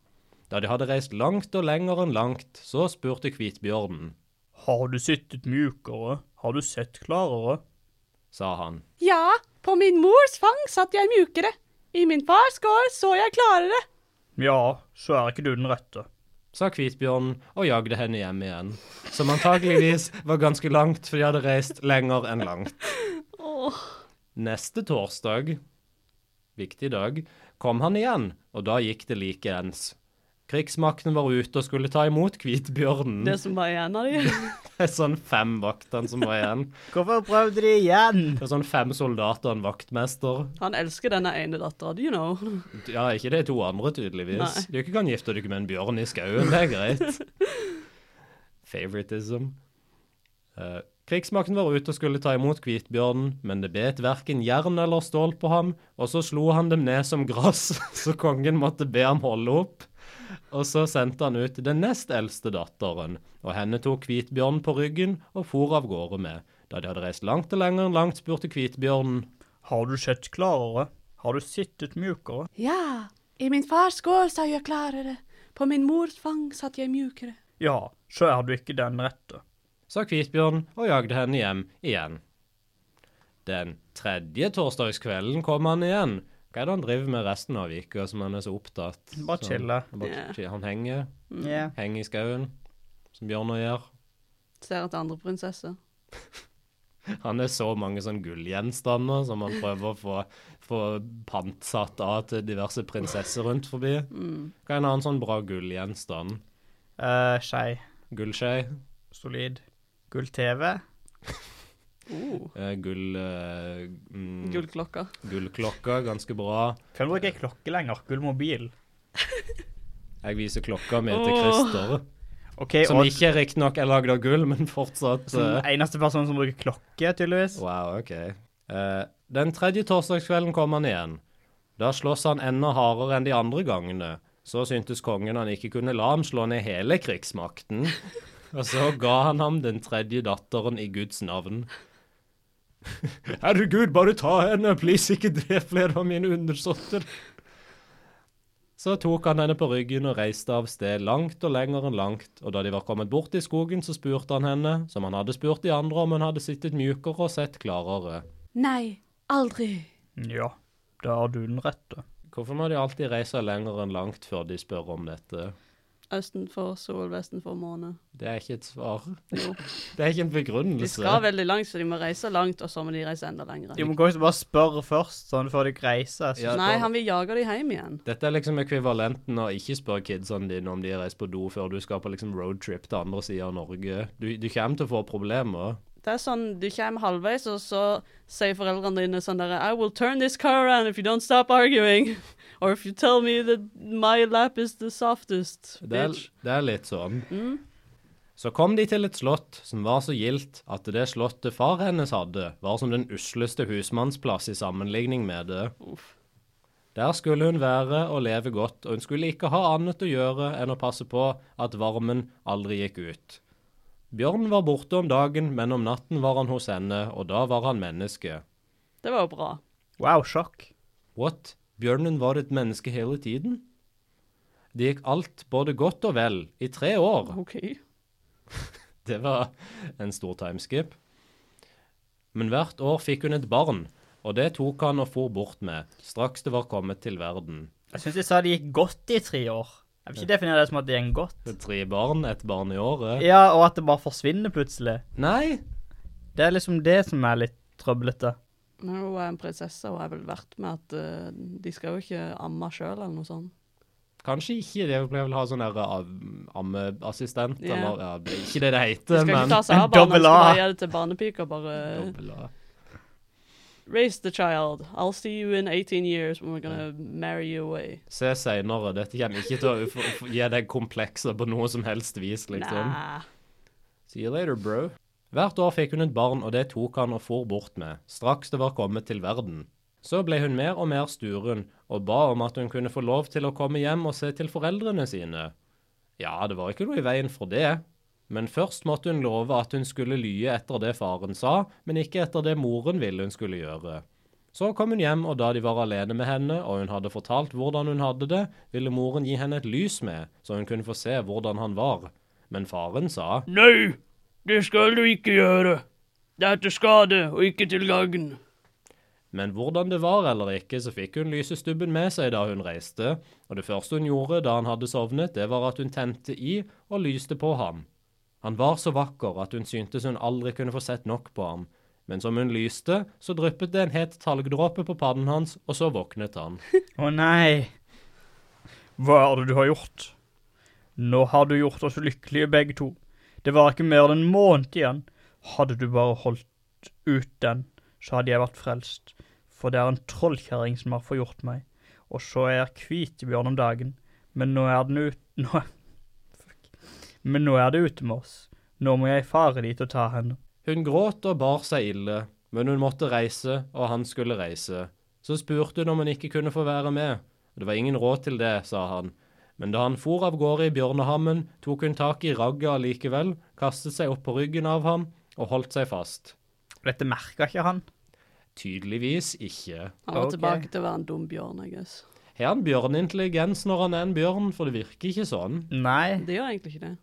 [SPEAKER 1] Da de hadde reist langt og lenger enn langt, så spurte Kvitbjørnen,
[SPEAKER 2] Har du sittet mjukere? Har du sett klarere?
[SPEAKER 1] sa han.
[SPEAKER 3] Ja, på min mors fang satt jeg mjukere. I min fars gård så jeg klarere.
[SPEAKER 2] Ja, så er ikke du den rette.
[SPEAKER 1] sa Kvitbjørnen og jagde henne hjem igjen, som antageligvis var ganske langt, for de hadde reist lenger enn langt. Neste torsdag, viktig dag, kom han igjen, og da gikk det likeens. Krigsmakten var ute og skulle ta imot Kvitbjørnen.
[SPEAKER 3] Det som var igjen av de.
[SPEAKER 1] Det er sånn fem vaktene som var igjen.
[SPEAKER 2] Hvorfor prøvde de igjen?
[SPEAKER 1] Det er sånn fem soldater og en vaktmester.
[SPEAKER 3] Han elsker denne ene dattera, do you know?
[SPEAKER 1] Ja, ikke de to andre, tydeligvis.
[SPEAKER 3] Nei.
[SPEAKER 1] Du ikke kan gifte deg med en bjørn i skauen, det er greit. Favoritism. Eh, krigsmakten var ute og skulle ta imot hvitbjørnen, men det bet verken jern eller stål på ham, og så slo han dem ned som gress, så kongen måtte be ham holde opp. Og så sendte han ut den nest eldste datteren, og henne tok hvitbjørnen på ryggen og for av gårde med. da de hadde reist langt og lenger enn langt, spurte Hvitbjørnen
[SPEAKER 2] Har du sett klarere? Har du sittet mjukere?
[SPEAKER 3] Ja, i min fars gård sa jeg klarere, på min mors fang satt jeg mjukere.
[SPEAKER 2] Ja, så er du ikke den rette.
[SPEAKER 1] sa Kvitbjørn og jagde henne hjem igjen. Den tredje torsdagskvelden kom han igjen. Hva er det han driver med resten av vika som han er så opptatt?
[SPEAKER 2] Bare
[SPEAKER 1] Sånn,
[SPEAKER 2] chille.
[SPEAKER 1] han bare
[SPEAKER 3] Ja.
[SPEAKER 1] chill- Han henger,
[SPEAKER 2] Ja.
[SPEAKER 1] henger i skauen, som bjørner gjør.
[SPEAKER 3] Ser etter andre prinsesser.
[SPEAKER 1] Han er så mange sånn gullgjenstander som han prøver å få, få pantsatt av til diverse prinsesser rundt forbi. Hva er en annen sånn bra gullgjenstand?
[SPEAKER 2] Eh, skei.
[SPEAKER 1] Gullskje?
[SPEAKER 2] Solid. Gull-TV.
[SPEAKER 3] Oh.
[SPEAKER 1] Eh, gull... Eh, mm,
[SPEAKER 3] Gullklokka.
[SPEAKER 1] Gullklokka, ganske bra.
[SPEAKER 2] Kan bruke klokke lenger. Gull-mobil.
[SPEAKER 1] Jeg viser klokka mi til
[SPEAKER 3] Åh.
[SPEAKER 1] Christer.
[SPEAKER 2] OK,
[SPEAKER 1] Som
[SPEAKER 2] og
[SPEAKER 1] ikke riktignok er lagd av gull, men fortsatt
[SPEAKER 2] som
[SPEAKER 1] eh,
[SPEAKER 2] eneste person som bruker klokke, tydeligvis.
[SPEAKER 1] Wow, OK. Eh, den tredje torsdagskvelden kom han igjen. Da slåss han enda hardere enn de andre gangene. Så syntes kongen han ikke kunne la ham slå ned hele krigsmakten, og så ga han ham den tredje datteren i Guds navn. Herregud, bare ta henne, please, ikke drep flere av mine undersåtter. Så tok han henne på ryggen og reiste av sted langt og lenger enn langt, og da de var kommet bort i skogen, så spurte han henne, som han hadde spurt de andre om hun hadde sittet mjukere og sett klarere.
[SPEAKER 3] Nei, aldri.
[SPEAKER 2] Ja, da er du den rette.
[SPEAKER 1] Hvorfor må de alltid reise lenger enn langt før de spør om dette?
[SPEAKER 3] Østen for sol, vesten for måne.
[SPEAKER 1] Det er ikke et svar.
[SPEAKER 3] Jo.
[SPEAKER 1] Det er ikke en
[SPEAKER 3] De
[SPEAKER 1] begrunnelse.
[SPEAKER 3] skal veldig langt, så de må reise langt, og så må de reise enda lenger.
[SPEAKER 2] De må gå ut og bare spørre først, sånn før de reiser. Så.
[SPEAKER 1] Ja,
[SPEAKER 3] Nei,
[SPEAKER 1] da-
[SPEAKER 3] han vil jage de hjem igjen.
[SPEAKER 1] Dette er liksom ekvivalenten av ikke spør kidsene dine om de har reist på do før du skal på liksom roadtrip til andre siden av Norge. Du, du kommer til å få problemer.
[SPEAKER 3] Det er sånn, du kommer halvveis, og så sier foreldrene dine sånn der, I will turn this car around if you don't stop arguing. Or if you tell me that my lap is the softest,
[SPEAKER 1] Det er,
[SPEAKER 3] bitch. Mm.
[SPEAKER 1] det er litt sånn. Så kom de til et slott som var så gildt at det slottet far hennes hadde, var som den usleste husmannsplass i sammenligning med det.
[SPEAKER 3] Uff.
[SPEAKER 1] Der skulle hun være og leve godt, og hun skulle ikke ha annet å gjøre enn å passe på at varmen aldri gikk ut. Bjørn var borte om dagen, men om natten var han hos henne, og da var han menneske.
[SPEAKER 3] Det var jo bra.
[SPEAKER 2] Wow, sjokk.
[SPEAKER 1] What? Bjørnen var et menneske hele tiden? Det gikk alt både godt og vel, i tre år.
[SPEAKER 3] OK.
[SPEAKER 1] Det var en stor timeskip. Men hvert år fikk hun et barn, og det tok han og for bort med, straks det var kommet til verden.
[SPEAKER 2] Jeg syns de sa det gikk godt i tre år. Jeg vil ikke definere det som at det gikk godt.
[SPEAKER 1] Tre barn, et barn i året.
[SPEAKER 2] Ja, og at det bare forsvinner plutselig.
[SPEAKER 1] Nei,
[SPEAKER 2] Det er liksom det som er litt trøblete.
[SPEAKER 3] Nå er hun en prinsesse, og har vel vært med at eh, de skal jo ikke amme sjøl eller noe sånt.
[SPEAKER 1] kanskje ikke. Det ble vel ha sånn der av- ammeassistent,
[SPEAKER 3] Ja.
[SPEAKER 1] eller ja, det er ikke det det
[SPEAKER 3] De
[SPEAKER 1] heter,
[SPEAKER 3] skal ikke
[SPEAKER 1] men
[SPEAKER 3] ta seg av
[SPEAKER 2] en
[SPEAKER 3] barna, de
[SPEAKER 2] dobbel
[SPEAKER 3] skal
[SPEAKER 2] A.
[SPEAKER 3] bare gi det til barnepiker. Bare
[SPEAKER 1] Dobbel A.
[SPEAKER 3] raise the child. I'll see you in 18 years when we're gonna marry you away.
[SPEAKER 1] Se seinere. Dette kommer ikke til å få- få- gi deg komplekser på noe som helst vis, liksom.
[SPEAKER 3] Nah.
[SPEAKER 1] See you later, bro. Hvert år fikk hun et barn, og det tok han og for bort med, straks det var kommet til verden. Så ble hun mer og mer sturen, og ba om at hun kunne få lov til å komme hjem og se til foreldrene sine. Ja, det var ikke noe i veien for det, men først måtte hun love at hun skulle lye etter det faren sa, men ikke etter det moren ville hun skulle gjøre. Så kom hun hjem, og da de var alene med henne, og hun hadde fortalt hvordan hun hadde det, ville moren gi henne et lys med, så hun kunne få se hvordan han var. Men faren sa
[SPEAKER 3] Nei, det skal du ikke gjøre. Det er til skade og ikke til gagn.
[SPEAKER 1] Men hvordan det var eller ikke, så fikk hun lysestubben med seg da hun reiste, og det første hun gjorde da han hadde sovnet, det var at hun tente i og lyste på ham. Han var så vakker at hun syntes hun aldri kunne få sett nok på ham, men som hun lyste, så dryppet det en het talgdråpe på pannen hans, og så våknet han.
[SPEAKER 2] Å nei. Hva er det du har gjort? Nå har du gjort oss lykkelige begge to. Det var ikke mer enn en måned igjen. Hadde du bare holdt ut den, så hadde jeg vært frelst. For det er en trollkjerring som har forgjort meg. Og så er jeg hvitbjørn om dagen. Men nå er den ut... Nå... Fuck. Men nå er det ute med oss. Nå må jeg fare dit og ta henne.
[SPEAKER 1] Hun gråt og bar seg ille, men hun måtte reise, og han skulle reise. Så spurte hun om hun ikke kunne få være med. Det var ingen råd til det, sa han. Men da han for av gårde i bjørnehammen, tok hun tak i ragget allikevel, kastet seg opp på ryggen av ham og holdt seg fast.
[SPEAKER 2] Dette merka ikke han.
[SPEAKER 1] Tydeligvis ikke.
[SPEAKER 3] Han var
[SPEAKER 2] Ok.
[SPEAKER 3] tilbake til å være en dum bjørn, I guess.
[SPEAKER 1] Har han bjørneintelligens når han er en bjørn? For det virker ikke sånn.
[SPEAKER 2] Nei.
[SPEAKER 3] Det gjør egentlig ikke det.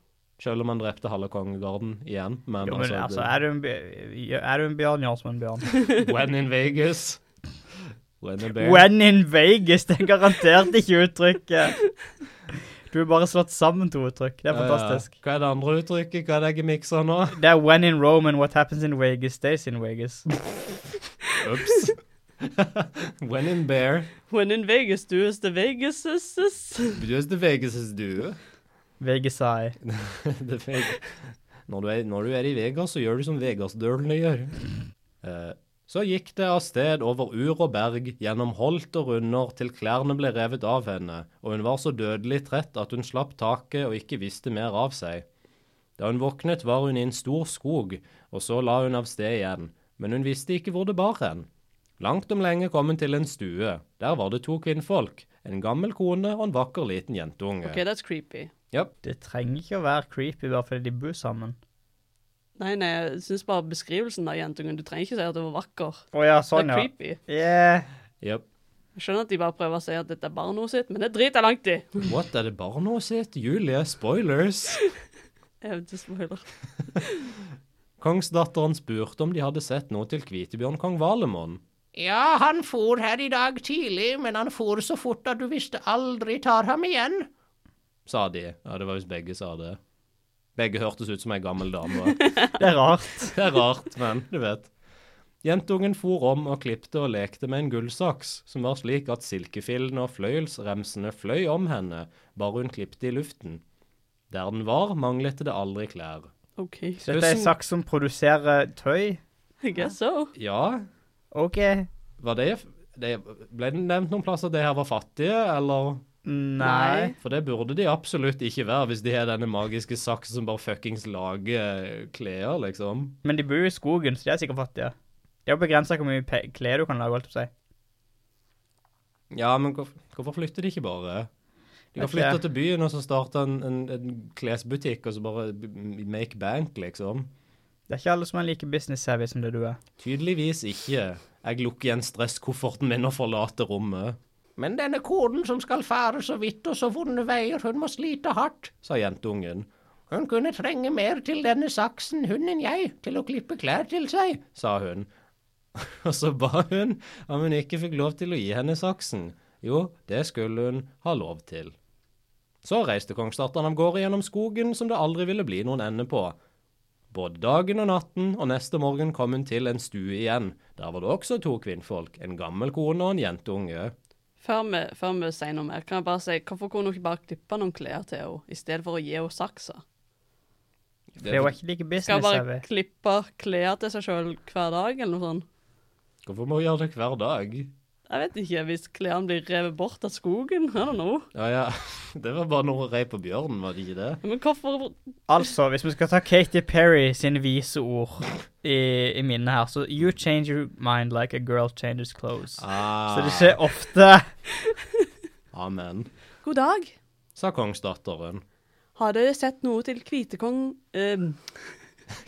[SPEAKER 1] Selv om han drepte halve kongegarden igjen. Men,
[SPEAKER 2] Jo, men altså, er du en, bj- er du en bjørn, gjør som en bjørn.
[SPEAKER 1] det- When in Vegas. When in Vegas.
[SPEAKER 2] When in Vegas, det er garantert ikke uttrykket. Du har bare slått sammen to uttrykk. Det er fantastisk.
[SPEAKER 1] Ja, ja. Hva er det andre uttrykket? Hva er det jeg mikser nå?
[SPEAKER 2] Det er when in Rome and what happens in Vegas stays in Vegas.
[SPEAKER 1] Ups. When in bear,
[SPEAKER 3] When in Vegas, do is the Vegas is is.
[SPEAKER 1] just the Vegas is due.
[SPEAKER 2] Vegas E. I.
[SPEAKER 1] The Veg- når, du er, når du er i Vegas, så gjør du som Vegasdølene gjør. Eh, så gikk det av sted over ur og berg, gjennom holt og runder, til klærne ble revet av henne, og hun var så dødelig trett at hun slapp taket og ikke visste mer av seg. Da hun våknet, var hun i en stor skog, og så la hun av sted igjen, men hun visste ikke hvor det bar hen. Langt om lenge kom hun til en stue. Der var det to kvinnfolk, en gammel kone og en vakker liten jentunge.
[SPEAKER 3] Ok, that's creepy.
[SPEAKER 1] Japp.
[SPEAKER 2] Det trenger ikke å være creepy bare fordi de bor sammen.
[SPEAKER 3] Nei, nei, jeg synes bare beskrivelsen av jentungen, du trenger ikke si at det var vakker.
[SPEAKER 2] Å ja,
[SPEAKER 3] Det
[SPEAKER 2] sånn,
[SPEAKER 3] er
[SPEAKER 2] ja.
[SPEAKER 3] creepy.
[SPEAKER 2] Yeah.
[SPEAKER 1] Japp.
[SPEAKER 3] Jeg skjønner at de bare prøver å si at dette er barnet sitt, men det driter jeg langt i.
[SPEAKER 1] What, er det barnet sitt? Julie, spoilers!
[SPEAKER 3] Jeg vet ikke spoiler.
[SPEAKER 1] Kongsdatteren spurte om de hadde sett noe til Kvitebjørn kong Valemon.
[SPEAKER 5] Ja, han for her i dag tidlig, men han for så fort at du visste aldri tar ham igjen.
[SPEAKER 1] Sa de. Ja, det var hvis begge sa det. Begge hørtes ut som ei gammel dame.
[SPEAKER 2] Det er rart.
[SPEAKER 1] Det er rart, men du vet. Jentungen for om og klipte og lekte med en gullsaks, som var slik at silkefillene og fløyelsremsene fløy om henne, bare hun klipte i luften. Der den var, manglet det aldri klær.
[SPEAKER 3] Ok,
[SPEAKER 2] Dette er en saks som produserer tøy.
[SPEAKER 3] I guess so.
[SPEAKER 1] Ja,
[SPEAKER 2] OK.
[SPEAKER 1] var det, det Ble det nevnt noen plasser at det her var fattige, eller?
[SPEAKER 2] Nei.
[SPEAKER 1] For det burde de absolutt ikke være hvis de har denne magiske saksen som bare fuckings lager eh, klær, liksom.
[SPEAKER 2] Men de bor jo i skogen, så de er sikkert fattige. Det er jo begrensa hvor mye pe- klær du kan lage. holdt jeg på å si.
[SPEAKER 1] Ja, men hvorf- hvorfor flytter de ikke bare? De kan
[SPEAKER 2] Vet
[SPEAKER 1] flytte
[SPEAKER 2] ikke.
[SPEAKER 1] til byen og så starte en, en, en klesbutikk og så bare b- make bank, liksom.
[SPEAKER 2] Det er ikke alle som er like business-savvy som det du er.
[SPEAKER 1] Tydeligvis ikke. Jeg lukker igjen stresskofferten min og forlater rommet,
[SPEAKER 5] Men denne konen som skal fare så vidt og så vonde veier, hun må slite hardt.
[SPEAKER 1] sa jentungen,
[SPEAKER 5] Hun kunne trenge mer til denne saksen, hun enn jeg, til å klippe klær til seg.
[SPEAKER 1] sa hun. Og så ba hun om hun ikke fikk lov til å gi henne saksen. Jo, det skulle hun ha lov til. Så reiste kongsdatteren av gårde gjennom skogen som det aldri ville bli noen ende på. Både dagen og natten, og neste morgen kom hun til en stue igjen. Der var det også to kvinnfolk, en gammel kone og en jentunge.
[SPEAKER 3] Før vi, før vi sier noe mer, kan jeg bare si, hvorfor kunne hun ikke bare klippe noen klær til henne, i stedet for å gi henne saksa?
[SPEAKER 2] Det er jo ikke like
[SPEAKER 3] Skal hun bare
[SPEAKER 2] business-savvy.
[SPEAKER 3] klippe klær til seg selv hver dag, eller noe sånt?
[SPEAKER 1] Hvorfor må hun gjøre det hver dag?
[SPEAKER 3] Jeg vet ikke, hvis klærne blir revet bort av skogen, I don't know.
[SPEAKER 1] Ja, ja, det var bare noe rei på bjørnen, var det ikke det?
[SPEAKER 3] Men hvorfor
[SPEAKER 2] Altså, hvis vi skal ta Katy Perry sine vise ord i, i minnet her, så You change your mind like a girl changes clothes. Så det skjer ofte.
[SPEAKER 1] Ah, Amen,
[SPEAKER 3] God dag.
[SPEAKER 1] sa kongsdatteren.
[SPEAKER 3] Har dere sett noe til Hvitekong ehm,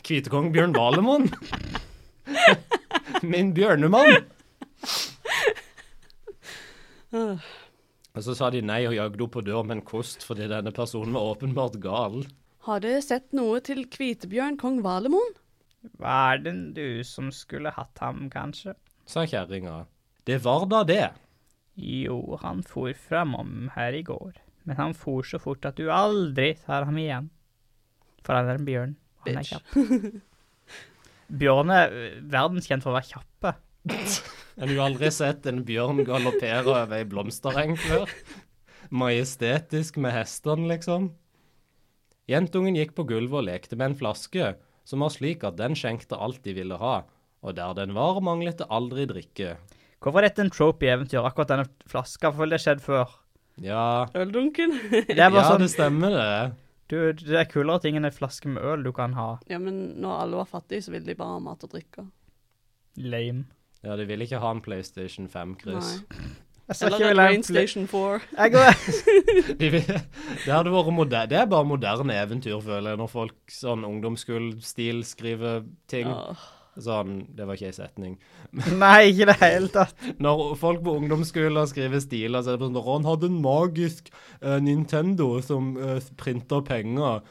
[SPEAKER 1] Hvitekong Bjørn Valemon. Min bjørnemann. Og så sa de nei og jagde henne på dør med en kost fordi denne personen var åpenbart gal.
[SPEAKER 3] Har dere sett noe til Hvitebjørn kong Valemon?
[SPEAKER 2] Var det du som skulle hatt ham, kanskje?
[SPEAKER 1] Sa kjerringa. Det var da det.
[SPEAKER 2] Jo, han for framom her i går, men han for så fort at du aldri tar ham igjen. For han er en bjørn. og Han er
[SPEAKER 3] Bitch.
[SPEAKER 2] kjapp. Bjørn er eh, verdenskjent for å være kjappe.
[SPEAKER 1] Har du aldri sett en bjørn galoppere over ei blomstereng før? Majestetisk med hestene, liksom. Jentungen gikk på gulvet og lekte med en flaske, som var slik at den skjenkte alt de ville ha, og der den var, manglet det aldri drikke.
[SPEAKER 2] Hvorfor er dette en trope i eventyr, akkurat denne flaska? For det har skjedd før.
[SPEAKER 1] Ja,
[SPEAKER 3] Øldunken?
[SPEAKER 2] Det er bare
[SPEAKER 1] ja det
[SPEAKER 2] sånn,
[SPEAKER 1] stemmer det.
[SPEAKER 2] du, det er kulere ting enn en flaske med øl du kan ha.
[SPEAKER 3] ja, men når alle var fattige, så ville de bare ha mat og drikke.
[SPEAKER 2] Lame.
[SPEAKER 1] Ja, de vil ikke ha en PlayStation 5, Chris.
[SPEAKER 3] Nei.
[SPEAKER 2] Jeg skal
[SPEAKER 3] Eller
[SPEAKER 2] ikke
[SPEAKER 3] en
[SPEAKER 2] vil ha en
[SPEAKER 3] Rain
[SPEAKER 2] pla-
[SPEAKER 3] Station 4.
[SPEAKER 2] Jeg går-
[SPEAKER 1] De vil, det, hadde vært moder, det er bare moderne eventyr, føler jeg, når folk sånn ungdomsskolestil skriver ting.
[SPEAKER 3] Åh,
[SPEAKER 1] Sånn, det var ikke ei setning.
[SPEAKER 2] Nei, ikke i det hele tatt.
[SPEAKER 1] Når folk på ungdomsskolen skriver stiler, så er det på sånn Han hadde en magisk eh, Nintendo som uh, printa penger.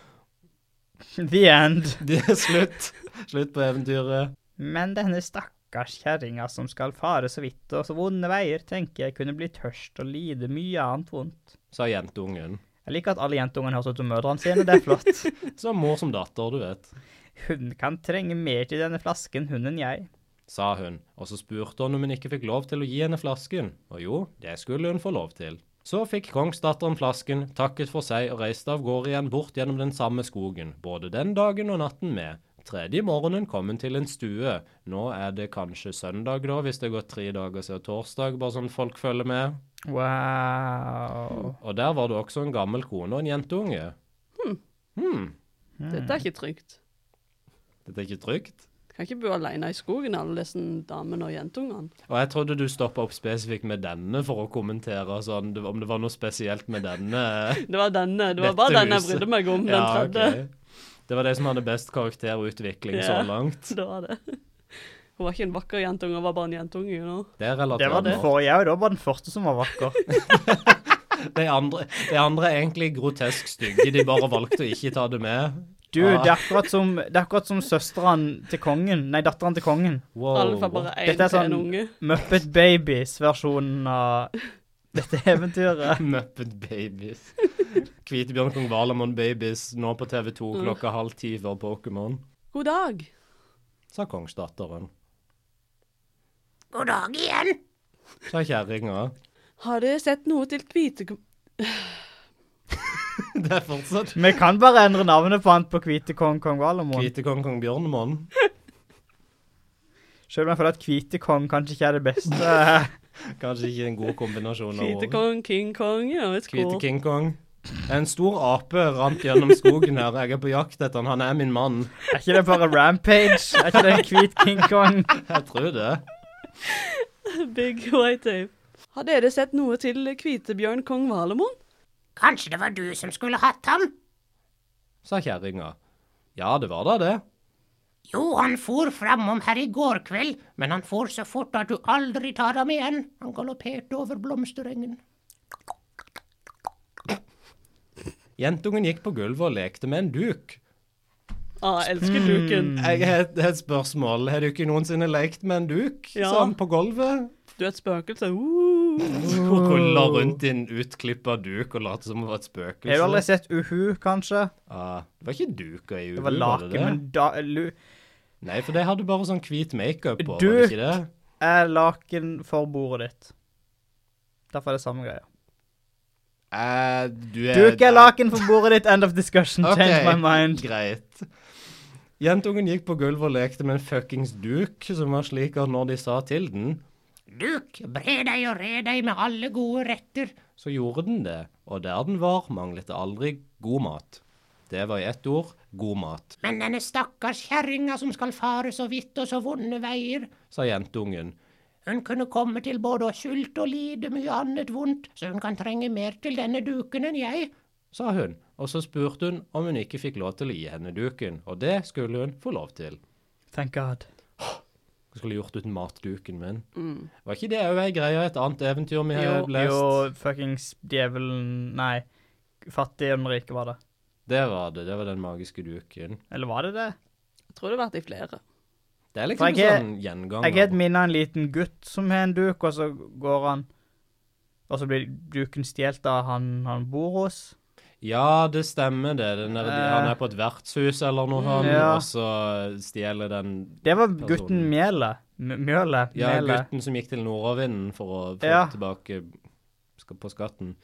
[SPEAKER 2] The end.
[SPEAKER 1] Det er slutt. Slutt på eventyret.
[SPEAKER 2] Men denne stakkars kjerringa som skal fare så vidt og så vonde veier, tenker jeg kunne bli tørst og lide mye annet vondt.
[SPEAKER 1] Sa jentungen.
[SPEAKER 2] Jeg liker at alle jentungene høres ut som mødrene sine, det er flott.
[SPEAKER 1] Så mor som datter, du vet.
[SPEAKER 2] Hun kan trenge mer til denne flasken, hun enn jeg.
[SPEAKER 1] Sa hun, og så spurte hun om hun ikke fikk lov til å gi henne flasken. Og jo, det skulle hun få lov til. Så fikk kongsdatteren flasken, takket for seg og reiste av gårde igjen bort gjennom den samme skogen, både den dagen og natten med. Tredje morgenen kom hun til en stue. Nå er det kanskje søndag, da, hvis det har gått tre dager siden torsdag, bare sånn folk følger med.
[SPEAKER 2] Wow.
[SPEAKER 1] Og der var det også en gammel kone og en jentunge. Hmm.
[SPEAKER 3] Dette er ikke trygt.
[SPEAKER 1] Dette er ikke trygt.
[SPEAKER 3] Kan ikke bo alene i skogen, alle disse damene og jentungene.
[SPEAKER 1] Og jeg trodde du stoppa opp spesifikt med denne for å kommentere sånn, det- om det var noe spesielt med denne.
[SPEAKER 3] Det var denne. Det var
[SPEAKER 1] Dette
[SPEAKER 3] bare den jeg
[SPEAKER 1] huset.
[SPEAKER 3] brydde meg om. Den tredje.
[SPEAKER 1] ok. Det var de som hadde best karakterutvikling
[SPEAKER 3] Ja.
[SPEAKER 1] så langt.
[SPEAKER 3] Det var det. Hun var ikke en vakker jentunge, hun var bare en jentunge. You know?
[SPEAKER 1] Det er
[SPEAKER 2] Det var
[SPEAKER 1] relatert
[SPEAKER 2] den
[SPEAKER 1] nå.
[SPEAKER 2] forrige òg, da var den første som var vakker.
[SPEAKER 1] De andre, de andre er egentlig grotesk stygge, de bare valgte å ikke ta det med.
[SPEAKER 2] Du, det er akkurat som, det er akkurat som søsteren til kongen, nei, datteren til kongen.
[SPEAKER 1] Wow.
[SPEAKER 3] Alle får bare én
[SPEAKER 2] Dette er
[SPEAKER 3] til en
[SPEAKER 2] sånn-
[SPEAKER 3] unge.
[SPEAKER 2] Muppet Babies-versjonen av dette eventyret.
[SPEAKER 1] Muppet Babies. Hvitebjørn Kong Valamon Babies nå på TV 2
[SPEAKER 3] Mm.
[SPEAKER 1] klokka halv ti før Pokémon,
[SPEAKER 3] God dag.
[SPEAKER 1] sa kongsdatteren.
[SPEAKER 5] God dag igjen.
[SPEAKER 1] Sa kjerringa.
[SPEAKER 3] Har dere sett noe til hvite...
[SPEAKER 1] Det er fortsatt
[SPEAKER 2] Vi kan bare endre navnet på han på Hvite kong kong Valamon.
[SPEAKER 1] Hvite kong kong Bjørnemon.
[SPEAKER 2] Selv om jeg føler at Hvite kong kanskje ikke er det beste.
[SPEAKER 1] Kanskje ikke en god kombinasjon av
[SPEAKER 3] Hvite
[SPEAKER 1] ord.
[SPEAKER 3] kong, King Kong, you know, it's
[SPEAKER 1] Hvite
[SPEAKER 3] cool.
[SPEAKER 1] King Kong. En stor ape rant gjennom skogen her. Jeg er på jakt etter han. Han er min mann.
[SPEAKER 2] Er ikke det bare Rampage? Er ikke det en hvit King Kong?
[SPEAKER 1] Jeg tror det.
[SPEAKER 3] Big white tape. Har dere sett noe til Hvitebjørn kong Valemon?
[SPEAKER 5] Kanskje det var du som skulle hatt ham?
[SPEAKER 1] Sa kjerringa. Ja, det var da det.
[SPEAKER 5] Jo, han for framom her i går kveld, men han for så fort at du aldri tar ham igjen. Han galopperte over blomsterengen.
[SPEAKER 1] Jentungen gikk på gulvet og lekte med en duk.
[SPEAKER 3] Ah, jeg elsker
[SPEAKER 1] Hmm.
[SPEAKER 3] duken.
[SPEAKER 1] Jeg har et- har et spørsmål. Har du ikke noensinne lekt med en duk
[SPEAKER 3] Ja.
[SPEAKER 1] sånn på gulvet?
[SPEAKER 3] Du er et spøkelse. Uh.
[SPEAKER 1] Hun ruller rundt i en utklippa duk og later som hun var et spøkelse.
[SPEAKER 2] Har du aldri sett Uhu, kanskje?
[SPEAKER 1] ah, det var ikke duka i
[SPEAKER 2] Det var
[SPEAKER 1] uhu,
[SPEAKER 2] laken,
[SPEAKER 1] det?
[SPEAKER 2] men da, lu,
[SPEAKER 1] Nei, for de hadde bare sånn hvit makeup på, var det
[SPEAKER 2] Duk.
[SPEAKER 1] ikke det?
[SPEAKER 2] er laken for bordet ditt. Derfor er det samme greia.
[SPEAKER 1] Eh, du
[SPEAKER 2] Duk er laken for bordet ditt, end of discussion, change my mind.
[SPEAKER 1] Greit. Jentungen gikk på gulvet og lekte med en fuckings duk, som var slik at når de sa til den,
[SPEAKER 5] Duk, bre deg og re deg med alle gode retter.
[SPEAKER 1] så gjorde den det. Og der den var, manglet det aldri god mat. Det var i ett ord god mat,
[SPEAKER 5] Men denne stakkars kjerringa som skal fare så vidt og så vonde veier,
[SPEAKER 1] sa jentungen.
[SPEAKER 5] hun kunne komme til både å sulte og lide mye annet vondt, så hun kan trenge mer til denne duken enn jeg.
[SPEAKER 1] Sa hun, og så spurte hun om hun ikke fikk lov til å gi henne duken, og det skulle hun få lov til.
[SPEAKER 2] Thank God.
[SPEAKER 1] Hva skulle jeg gjort uten matduken min?
[SPEAKER 3] Mm.
[SPEAKER 1] Var ikke det òg ei greie, et annet eventyr vi har
[SPEAKER 3] Jo.
[SPEAKER 1] lest?
[SPEAKER 2] Jo, fuckings djevelen Nei, fattig og den rike var det.
[SPEAKER 1] Det var det. Det var den magiske duken.
[SPEAKER 2] Eller var det det?
[SPEAKER 3] Jeg tror det har vært i flere.
[SPEAKER 1] Det er
[SPEAKER 2] For
[SPEAKER 1] liksom
[SPEAKER 2] jeg er-
[SPEAKER 1] sånn gjenganger.
[SPEAKER 2] Jeg har et minne av en liten gutt som har en duk, og så går han Og så blir duken stjålet av han han bor hos.
[SPEAKER 1] Ja, det stemmer det. Den der,
[SPEAKER 2] Eh.
[SPEAKER 1] Han er på et vertshus eller noe, han,
[SPEAKER 2] Ja.
[SPEAKER 1] og så stjeler den
[SPEAKER 2] Det var
[SPEAKER 1] Personen.
[SPEAKER 2] gutten Mjølet. M- Mjølet.
[SPEAKER 1] ja,
[SPEAKER 2] Mjølet.
[SPEAKER 1] gutten som gikk til nordavinden for å få
[SPEAKER 2] Ja.
[SPEAKER 1] tilbake sk- på skatten.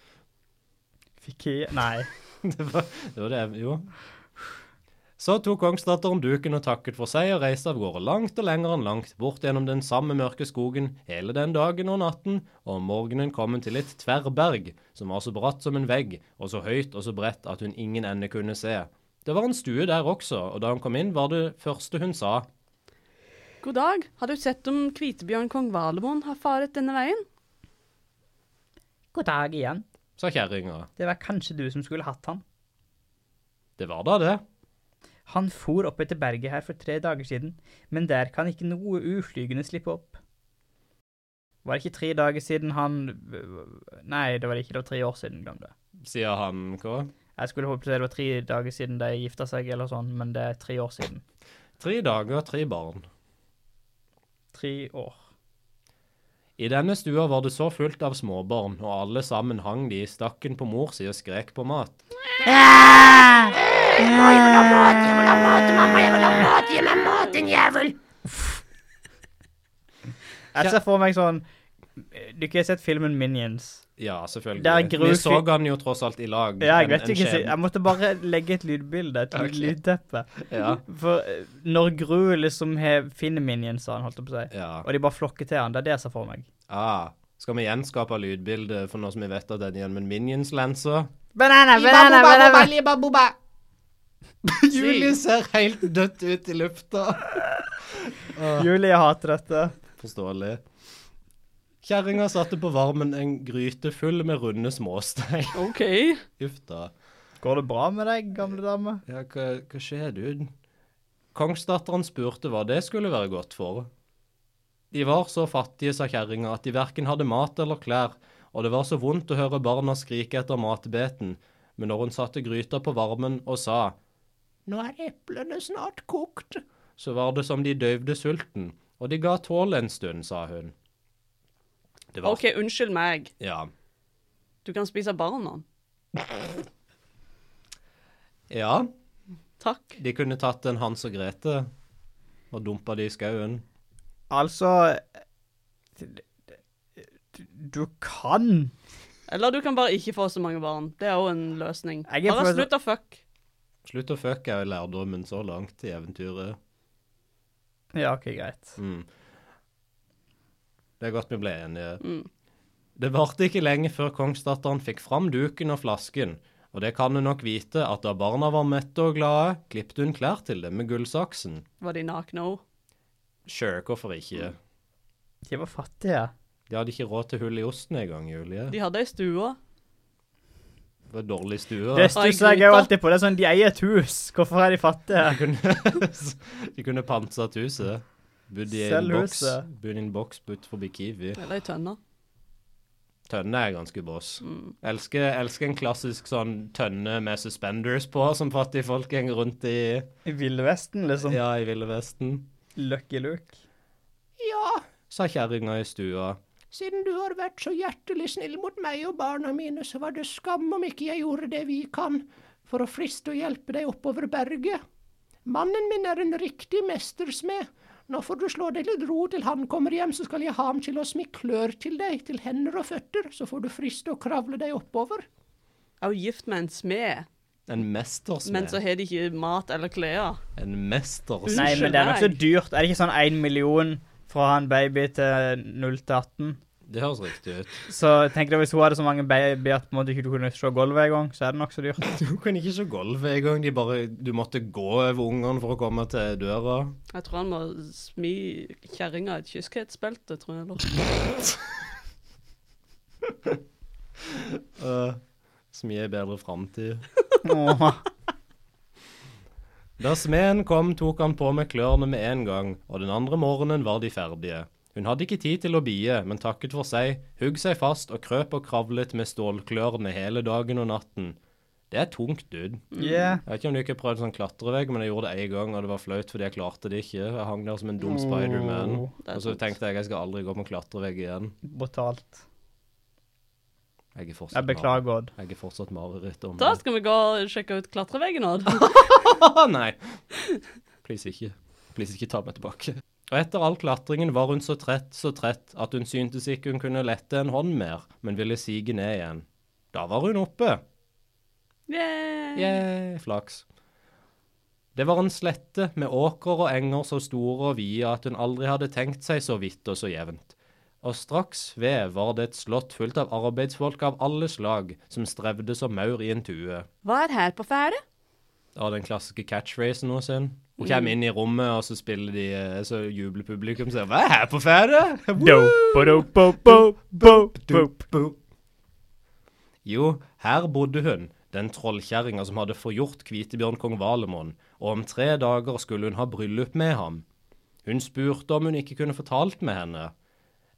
[SPEAKER 2] Fikk i Nei.
[SPEAKER 1] Det var det, var det jo. Så tok kongsdatteren duken og takket for seg og reiste av gårde langt og lenger enn langt, bort gjennom den samme mørke skogen hele den dagen og natten, og om morgenen kom hun til et tverrberg, som var så bratt som en vegg, og så høyt og så bredt at hun ingen ende kunne se. Det var en stue der også, og da hun kom inn var det første hun sa,
[SPEAKER 3] God dag. Har du sett om Hvitebjørn kong Valemon har faret denne veien?
[SPEAKER 2] God dag igjen.
[SPEAKER 1] sa kjerringa.
[SPEAKER 2] Det var kanskje du som skulle hatt han.
[SPEAKER 1] Det var da det.
[SPEAKER 2] Han for opp etter berget her for tre dager siden, men der kan ikke noe uflygende slippe opp. Var det ikke tre dager siden han Nei, det var det ikke, det var tre år siden, glem det.
[SPEAKER 1] sier han hva?
[SPEAKER 2] Jeg skulle håpe det var tre dager siden de gifta seg, eller sånn, men det er tre år siden.
[SPEAKER 1] Tre dager, tre barn.
[SPEAKER 2] Tre år.
[SPEAKER 1] I denne stua var det så fullt av småbarn, og alle sammen hang de i stakken på mor si og skrek på mat.
[SPEAKER 2] Jeg ser for meg sånn Du ikke har sett filmen Minions?
[SPEAKER 1] Ja, selvfølgelig.
[SPEAKER 2] Det er
[SPEAKER 1] Vi
[SPEAKER 2] grufy-
[SPEAKER 1] så han jo tross alt i lag.
[SPEAKER 2] Ja,
[SPEAKER 1] en-
[SPEAKER 2] jeg vet
[SPEAKER 1] en
[SPEAKER 2] ikke,
[SPEAKER 1] skjebne.
[SPEAKER 2] jeg måtte bare legge et lydbilde, et
[SPEAKER 1] Ok.
[SPEAKER 2] lydteppe.
[SPEAKER 1] Ja.
[SPEAKER 2] For eh, når Gru liksom har- finner minionsene, holdt jeg på å si,
[SPEAKER 1] Ja.
[SPEAKER 2] og de bare flokker til han, det er det jeg ser for meg.
[SPEAKER 1] Ah, skal vi gjenskape lydbildet for nå som vi vet at det er igjen med Minions-lensa?
[SPEAKER 2] Banana, banana, banana!
[SPEAKER 1] Julie ser helt dødt ut i lufta.
[SPEAKER 2] Julie hater dette.
[SPEAKER 1] Forståelig. Kjerringa satte på varmen en gryte full med runde småstein.
[SPEAKER 3] OK.
[SPEAKER 1] Uff da.
[SPEAKER 2] Går det bra med deg, gamle dame?
[SPEAKER 1] Ja, hva, hva skjer, dude? Kongsdatteren spurte hva det skulle være godt for. De var så fattige, sa kjerringa, at de verken hadde mat eller klær, og det var så vondt å høre barna skrike etter matbeten, men når hun satte gryta på varmen og sa
[SPEAKER 5] Nå er eplene snart kokt.
[SPEAKER 1] så var det som de døyvde sulten, og de ga tål en stund, sa hun. Det var
[SPEAKER 3] OK, unnskyld meg.
[SPEAKER 1] Ja.
[SPEAKER 3] Du kan spise barna.
[SPEAKER 1] ja,
[SPEAKER 3] Takk.
[SPEAKER 1] de kunne tatt en Hans og Grete og dumpa de i skauen.
[SPEAKER 2] Altså Du kan
[SPEAKER 3] Eller du kan bare ikke få så mange barn. Det er òg en løsning.
[SPEAKER 2] Jeg er
[SPEAKER 3] Bare
[SPEAKER 2] for-
[SPEAKER 3] slutt å fuck.
[SPEAKER 1] Slutt å fucke er jo lærdommen så langt i eventyret.
[SPEAKER 2] Ja, OK, greit.
[SPEAKER 1] Mm. Det er godt vi ble enige. Det varte ikke lenge før kongsdatteren fikk fram duken og flasken, og det kan hun nok vite at da barna var mette og glade, klippte hun klær til dem med gullsaksen.
[SPEAKER 3] Var de nakne òg?
[SPEAKER 1] Sure, hvorfor ikke?
[SPEAKER 2] De var fattige.
[SPEAKER 1] De hadde ikke råd til hull i osten engang, Julie.
[SPEAKER 3] De hadde ei stue.
[SPEAKER 1] Det var dårlig stue.
[SPEAKER 2] Det
[SPEAKER 1] ass.
[SPEAKER 2] stusser jeg jo alltid på. Det er sånn, De eier et hus. Hvorfor er de fattige?
[SPEAKER 1] De kunne, de kunne pantsatt huset. Bodd i en
[SPEAKER 2] Selg
[SPEAKER 1] boks,
[SPEAKER 2] huset.
[SPEAKER 1] bodd i en boks ut forbi Kiwi.
[SPEAKER 3] Eller ei tønne.
[SPEAKER 1] Tønne er ganske boss.
[SPEAKER 3] Mm.
[SPEAKER 1] Elsker, elsker en klassisk sånn tønne med suspenders på, som fattige folk går rundt i
[SPEAKER 2] I Ville Vesten, liksom.
[SPEAKER 1] Ja, i Ville Vesten.
[SPEAKER 2] Lucky Luke.
[SPEAKER 5] Ja,
[SPEAKER 1] Sa kjerringa i stua.
[SPEAKER 5] siden du har vært så hjertelig snill mot meg og barna mine, så var det skam om ikke jeg gjorde det vi kan for å friste og hjelpe deg oppover berget. Mannen min er en riktig mestersmed. Nå får du slå deg litt ro til han kommer hjem, så skal jeg ha ham til å smi klør til deg, til hender og føtter, så får du friste og kravle deg oppover.
[SPEAKER 3] Jeg er jo gift med en smed,
[SPEAKER 1] En
[SPEAKER 3] men så
[SPEAKER 1] mestersmed.
[SPEAKER 3] har de ikke mat eller klær.
[SPEAKER 1] En mestersmed.
[SPEAKER 2] Nei, men det er nok så
[SPEAKER 3] meg.
[SPEAKER 2] dyrt. Er det ikke sånn én million fra han baby til 0 til 18?
[SPEAKER 1] Det høres riktig ut.
[SPEAKER 2] Så tenk deg hvis hun hadde så mange babyer at på en måte ikke du kunne se gulvet engang, så er det nok så dyrt.
[SPEAKER 1] Du kan ikke se gulvet engang. De bare Du måtte gå over ungene for å komme til døra.
[SPEAKER 3] Jeg tror han må smi kjerringa et kyskhetsbelte, tror jeg. Eller.
[SPEAKER 1] Uh, Som gir bedre framtid.
[SPEAKER 2] Åh.
[SPEAKER 1] Da smeden kom, tok han på med klørne med en gang, og den andre morgenen var de ferdige. Hun hadde ikke tid til å bie, men takket for seg, hugg seg fast og krøp og kravlet med stålklørne hele dagen og natten. Det er tungt, dude.
[SPEAKER 2] Yeah.
[SPEAKER 1] Jeg vet ikke om du ikke har prøvd sånn klatrevegg, men jeg gjorde det én gang, og det var flaut fordi jeg klarte det ikke. Jeg hang der som en dum Spiderman.
[SPEAKER 2] Åh,
[SPEAKER 3] det er
[SPEAKER 1] Og så
[SPEAKER 3] sant.
[SPEAKER 1] tenkte jeg jeg skal aldri gå på en klatrevegg igjen.
[SPEAKER 2] Brutalt.
[SPEAKER 1] Jeg er fortsatt
[SPEAKER 2] Jeg beklager, Odd.
[SPEAKER 1] mar- Jeg er fortsatt mareritt om
[SPEAKER 3] Da skal vi gå og sjekke ut klatreveggen Odd.
[SPEAKER 1] Å nei. Please ikke. Please ikke ta meg tilbake. Og etter all klatringen var hun så trett, så trett, at hun syntes ikke hun kunne lette en hånd mer, men ville sige ned igjen. Da var hun oppe.
[SPEAKER 3] Yeah.
[SPEAKER 1] Yeah, flaks. Det var en slette med åkrer og enger så store og vide at hun aldri hadde tenkt seg så vidt og så jevnt. Og straks ved var det et slott fullt av arbeidsfolk av alle slag som strevde som maur i en tue.
[SPEAKER 3] Hva er her på ferde?
[SPEAKER 1] Ja, den klassiske catchphrasen nå sin. Hun kommer inn i rommet, og så spiller de eh, Så jubler publikum og sier 'Hva er her på ferde?'
[SPEAKER 2] Dope-a-dope-bo-bo-bo-bo.
[SPEAKER 1] Jo, her bodde hun, den trollkjerringa som hadde forgjort Kvitebjørn kong Valemon, og om tre dager skulle hun ha bryllup med ham. Hun spurte om hun ikke kunne fortalt med henne.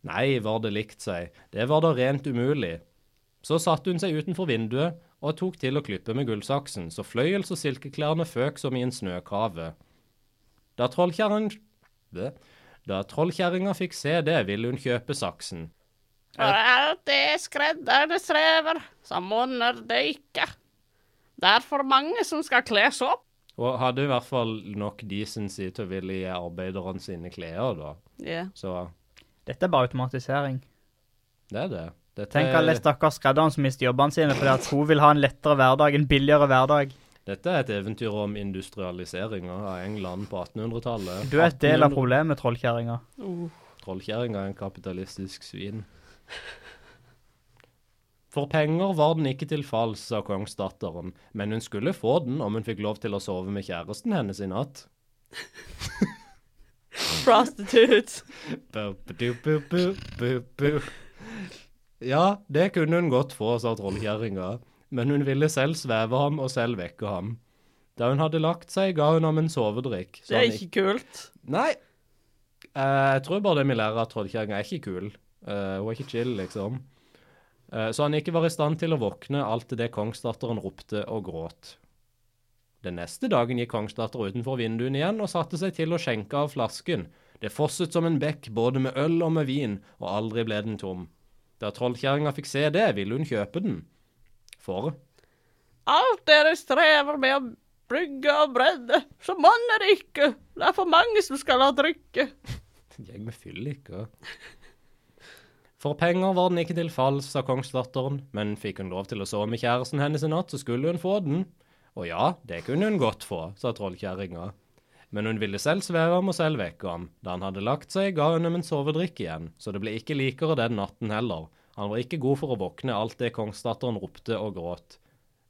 [SPEAKER 1] Nei, var det likt seg, det var da rent umulig. Så satte hun seg utenfor vinduet og tok til å klippe med gullsaksen, så fløyels- og silkeklærne føk som i en snøkave. Da trollkjerren... Bæ. Da trollkjerringa fikk se det, ville hun kjøpe saksen.
[SPEAKER 3] For alt det skredderne strever, så monner det ikke. Det er for mange som skal kles opp.
[SPEAKER 1] Og hadde i hvert fall nok decency til å ville gi arbeiderne sine klær, da.
[SPEAKER 3] Ja.
[SPEAKER 1] Så
[SPEAKER 2] Dette er bare automatisering.
[SPEAKER 1] det er det. Dette,
[SPEAKER 2] Tenk alle stakkars skredderne som mister jobbene sine fordi at hun vil ha en lettere hverdag, en billigere hverdag.
[SPEAKER 1] dette er et eventyr om industrialiseringa av England på 1800-tallet.
[SPEAKER 2] Du er et del av
[SPEAKER 1] 1800
[SPEAKER 2] problemet, trollkjerringa.
[SPEAKER 3] Uh.
[SPEAKER 1] Trollkjerringa er en kapitalistisk svin. For penger var den ikke til falls, sa kongsdatteren, men hun skulle få den om hun fikk lov til å sove med kjæresten hennes i natt.
[SPEAKER 3] Prostitute.
[SPEAKER 1] Bu-bu-du-bu-bu-bu-bu. Ja, det kunne hun godt få, sa trollkjerringa, men hun ville selv sveve ham og selv vekke ham. Da hun hadde lagt seg, ga hun ham en sovedrikk. så
[SPEAKER 3] Det er
[SPEAKER 1] han
[SPEAKER 3] ikke kult.
[SPEAKER 1] Nei. Eh, jeg tror bare det vi lærer, at trollkjerringa er ikke kul. Eh, hun er ikke chill, liksom. Eh, så han ikke var i stand til å våkne alt det kongsdatteren ropte og gråt. Den neste dagen gikk kongsdatter utenfor vinduene igjen og satte seg til å skjenke av flasken. Det fosset som en bekk, både med øl og med vin, og aldri ble den tom. Da trollkjerringa fikk se det, ville hun kjøpe den. For
[SPEAKER 3] Alt dere strever med å brygge og bredde, så monner det ikke. Det er for mange som skal ha drikke.
[SPEAKER 1] Jeg med fylliker. For penger var den ikke til falls, sa kongsdatteren, men fikk hun lov til å sove med kjæresten hennes i natt, så skulle hun få den. Og ja, det kunne hun godt få, sa trollkjerringa. Men hun ville selv sveve ham og selv vekke ham. Da han hadde lagt seg, ga hun ham en sovedrikk igjen, så det ble ikke likere den natten heller. Han var ikke god for å våkne alt det kongsdatteren ropte og gråt.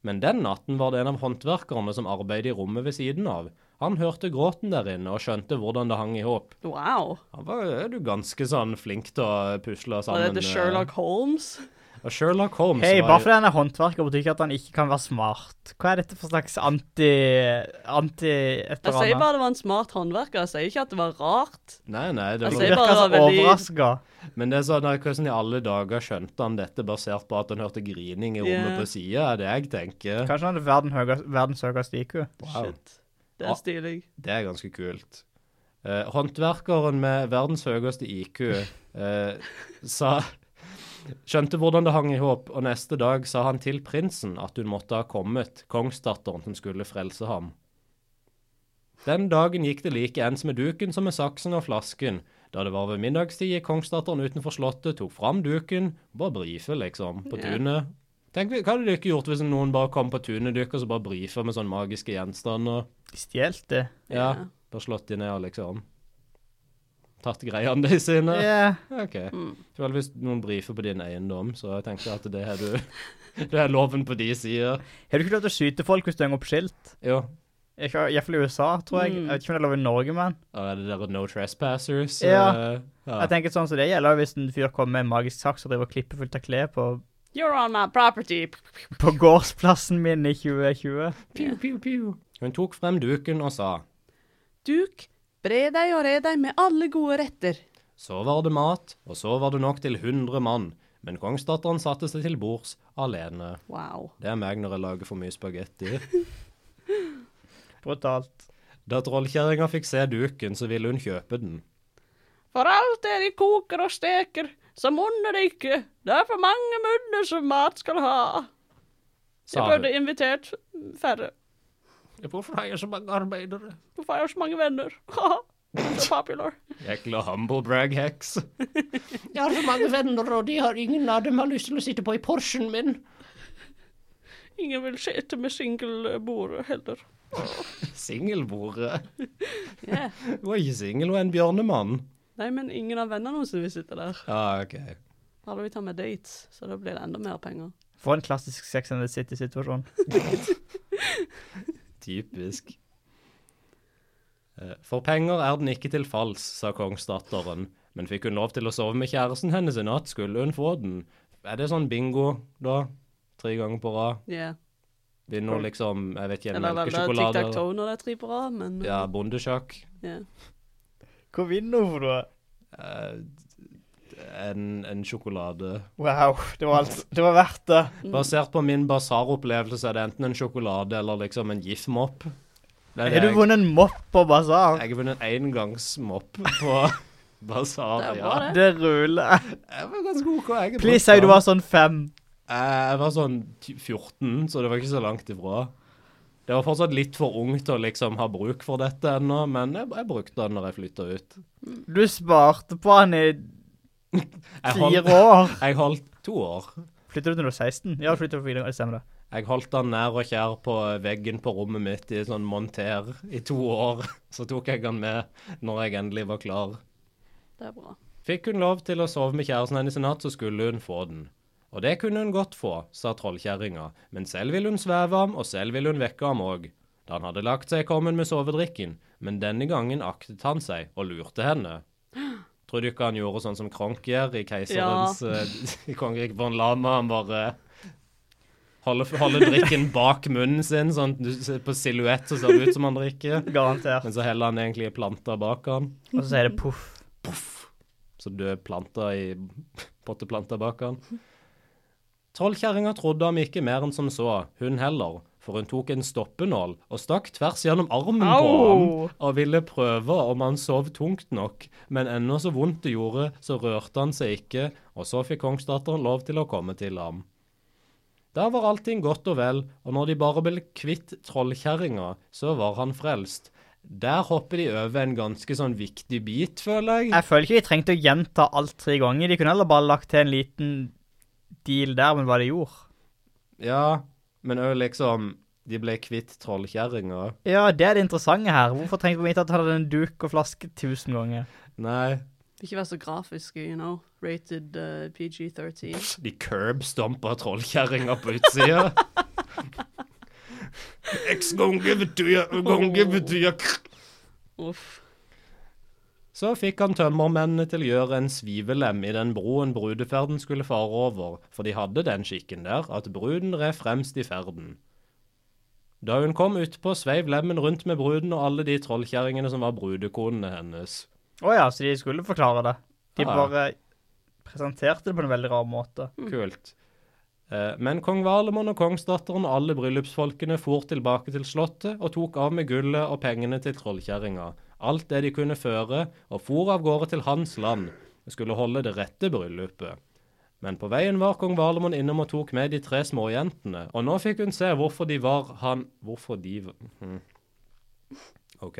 [SPEAKER 1] Men den natten var det en av håndverkerne som arbeidet i rommet ved siden av. Han hørte gråten der inne og skjønte hvordan det hang i hop.
[SPEAKER 3] Wow.
[SPEAKER 1] Han var er du ganske sånn flink til å pusle
[SPEAKER 3] Var
[SPEAKER 1] sammen
[SPEAKER 3] det The Sherlock Holmes?
[SPEAKER 1] eh, og Sherlock Holmes
[SPEAKER 2] Hei,
[SPEAKER 1] var
[SPEAKER 2] bare
[SPEAKER 1] jo
[SPEAKER 2] fordi han er håndverker, betyr ikke at han ikke kan være smart. Hva er dette for slags anti... anti... et
[SPEAKER 3] Jeg
[SPEAKER 2] eller
[SPEAKER 3] sier
[SPEAKER 2] annet?
[SPEAKER 3] bare det var en smart håndverker. Jeg sier ikke at det var rart.
[SPEAKER 1] Nei, nei, det
[SPEAKER 3] Jeg
[SPEAKER 2] Du
[SPEAKER 1] var...
[SPEAKER 3] sier bare
[SPEAKER 2] virker så
[SPEAKER 3] det var veldig-
[SPEAKER 2] overraska.
[SPEAKER 1] men det er sånn at hvordan i alle dager skjønte han dette basert på at han hørte grining i rommet
[SPEAKER 3] Ja.
[SPEAKER 1] på sida, er det jeg tenker.
[SPEAKER 2] Kanskje han hadde verden høyest- verdens høyeste IQ.
[SPEAKER 1] Wow.
[SPEAKER 3] Shit. Det er stilig.
[SPEAKER 1] Det er ganske kult. Eh, håndverkeren med verdens høyeste IQ eh, sa Skjønte hvordan det hang i håp, og neste dag sa han til prinsen at hun måtte ha kommet, kongsdatteren som skulle frelse ham. Den dagen gikk det like ens med duken som med saksen og flasken. Da det var ved middagstid, gikk kongsdatteren utenfor slottet, tok fram duken, bare brife, liksom, på
[SPEAKER 3] Ja.
[SPEAKER 1] tunet. Tenk, Hva hadde dere gjort hvis noen bare kom på tunet deres og så bare brifa med sånne magiske gjenstander?
[SPEAKER 2] De stjal det.
[SPEAKER 1] Ja.
[SPEAKER 3] Ja.
[SPEAKER 1] Bare slått de ned og liksom Tatt greiene de sine.
[SPEAKER 2] Ja.
[SPEAKER 1] OK.
[SPEAKER 3] Mm.
[SPEAKER 1] Vel, hvis noen brifer på din eiendom, så jeg tenker at det er du Det er loven på de sider.
[SPEAKER 2] Har du ikke lov til å skyte folk hvis du henger opp skilt?
[SPEAKER 1] Jo.
[SPEAKER 2] Iallfall i USA, tror jeg.
[SPEAKER 3] Mm.
[SPEAKER 2] Jeg vet ikke om det er lov i Norge, men
[SPEAKER 1] Og er det der no trespassers?
[SPEAKER 2] Ja.
[SPEAKER 1] eh, ja.
[SPEAKER 2] Jeg tenker sånn som det gjelder hvis en fyr kommer med en magisk saks og driver og klipper fullt av klær på,
[SPEAKER 3] You're on my property.
[SPEAKER 2] på gårdsplassen min i 2020.
[SPEAKER 1] Pew, pew, pew. Hun tok frem duken og sa
[SPEAKER 3] Duk, bre deg og re deg med alle gode retter.
[SPEAKER 1] Så var det mat, og så var det nok til 100 mann. Men kongsdatteren satte seg til bords alene.
[SPEAKER 3] Wow.
[SPEAKER 1] Det er meg når jeg lager for mye spagetti.
[SPEAKER 2] Brutalt.
[SPEAKER 1] Da trollkjerringa fikk se duken, så ville hun kjøpe den.
[SPEAKER 3] For alt det de koker og steker, så monner det ikke. Det er for mange munner som mat skal ha. Jeg
[SPEAKER 1] Sa
[SPEAKER 3] burde invitert færre.
[SPEAKER 1] Hvorfor har jeg så mange arbeidere?
[SPEAKER 3] Hvorfor har jeg så mange venner? so popular.
[SPEAKER 1] Jækla humblebrag-heks.
[SPEAKER 5] Jeg har så mange venner, og de har ingen av dem har lyst til å sitte på i Porschen min.
[SPEAKER 3] Ingen vil sitte med singelbordet heller.
[SPEAKER 1] Singelbordet.
[SPEAKER 3] Ja.
[SPEAKER 1] Hun er ikke singel, hun er en bjørnemann.
[SPEAKER 3] Nei, men ingen av vennene hennes vil sitte der.
[SPEAKER 1] Ja, ok.
[SPEAKER 3] Alle vil ta med dates, så da blir det enda mer penger.
[SPEAKER 2] For en klassisk Sex and the City-situasjon.
[SPEAKER 1] Typisk. Eh, For penger er den ikke til falls, sa kongsdatteren. Men fikk hun lov til å sove med kjæresten hennes i natt, skulle hun få den. Er det sånn bingo, da? Tre ganger på rad?
[SPEAKER 3] Ja.
[SPEAKER 1] Vil nå liksom Jeg vet ikke,
[SPEAKER 3] Eller vel, det er
[SPEAKER 1] melkesjokolade eller-
[SPEAKER 3] tic-tac-toe når det er tre på rad, men
[SPEAKER 1] Ja, bondesjakk.
[SPEAKER 3] ja.
[SPEAKER 2] Hva vinner hun, da?
[SPEAKER 1] Eh, en, en sjokolade.
[SPEAKER 2] Wow, det var, alt, det var verdt det.
[SPEAKER 1] Basert på min basaropplevelse er det enten en sjokolade eller liksom en gif-mopp. Det
[SPEAKER 2] Har du
[SPEAKER 1] jeg-
[SPEAKER 2] vunnet en mopp på basar?
[SPEAKER 1] Jeg har vunnet engangsmopp på basar.
[SPEAKER 3] Det er
[SPEAKER 1] Ja.
[SPEAKER 3] bra,
[SPEAKER 2] Det ruller.
[SPEAKER 1] Jeg var ganske OK. Jeg er
[SPEAKER 2] Please
[SPEAKER 1] bra.
[SPEAKER 2] si du var sånn fem.
[SPEAKER 1] Eh, Jeg var sånn ty- 14, så det var ikke så langt ifra. Det var fortsatt litt for ung til å liksom ha bruk for dette ennå, men jeg, jeg brukte den når jeg flytta ut.
[SPEAKER 2] Du sparte på han i
[SPEAKER 1] Jeg holdt,
[SPEAKER 2] fire år.
[SPEAKER 1] jeg holdt to år.
[SPEAKER 2] Flytter du til du var 16? Ja, flytter du til videregående. Stemmer det.
[SPEAKER 1] Jeg holdt den nær og kjær på veggen på rommet mitt i sånn monter i to år. Så tok jeg den med når jeg endelig var klar.
[SPEAKER 3] Det er bra.
[SPEAKER 1] Fikk hun lov til å sove med kjæresten hennes i natt, så skulle hun få den. Og det kunne hun godt få, sa trollkjerringa, men selv ville hun sveve ham, og selv ville hun vekke ham òg. Da han hadde lagt seg, kom hun med sovedrikken, men denne gangen aktet han seg og lurte henne. Tror du ikke han gjorde sånn som Kronk gjør i keiserens eh, I kongeriket von Lama? Han bare holder, holder drikken bak munnen sin, sånn du ser på silhuett så ser det ut som han drikker.
[SPEAKER 2] Garantert.
[SPEAKER 1] Men så heller han egentlig planta bak han.
[SPEAKER 2] Og så sier det poff.
[SPEAKER 1] Så døde planter i potteplanter bak han. Trollkjerringa trodde ham ikke mer enn som så, hun heller, for hun tok en stoppenål og stakk tvers gjennom armen på ham
[SPEAKER 2] Au!
[SPEAKER 1] og ville prøve om han sov tungt nok, men ennå så vondt det gjorde, så rørte han seg ikke, og så fikk kongsdatteren lov til å komme til ham. Der var allting godt og vel, og når de bare ble kvitt trollkjerringa, så var han frelst. Der hopper de over en ganske sånn viktig bit, føler jeg.
[SPEAKER 2] Jeg føler ikke de trengte å gjenta alt tre ganger. De kunne heller bare lagt til en liten deal der med hva de gjorde.
[SPEAKER 1] Ja, men òg liksom De ble kvitt trollkjerringa.
[SPEAKER 2] Ja, det er det interessante her. Hvorfor trengte vi ikke at han hadde en duk og flaske tusen ganger?
[SPEAKER 1] Nei.
[SPEAKER 3] Ikke vær så grafisk, you know. Rated eh, PG-13.
[SPEAKER 1] De curbstompa trollkjerringa på utsida. X ganger betyr ganger betyr
[SPEAKER 3] Uff.
[SPEAKER 1] Så fikk han tømmermennene til å gjøre en svivelem i den broen brudeferden skulle fare over, for de hadde den skikken der at bruden red fremst i ferden. Da hun kom utpå, sveiv lemmen rundt med bruden og alle de trollkjerringene som var brudekonene hennes.
[SPEAKER 2] Å ja, så de skulle forklare det. De
[SPEAKER 1] Ja.
[SPEAKER 2] bare presenterte det på en veldig rar måte.
[SPEAKER 1] Kult. Eh, Men kong Valemon og kongsdatteren og alle bryllupsfolkene for tilbake til slottet og tok av med gullet og pengene til trollkjerringa, alt det de kunne føre, og for av gårde til hans land, og skulle holde det rette bryllupet. Men på veien var kong Valemon innom og tok med de tre småjentene, og nå fikk hun se hvorfor de var han Hvorfor de v- hm. OK.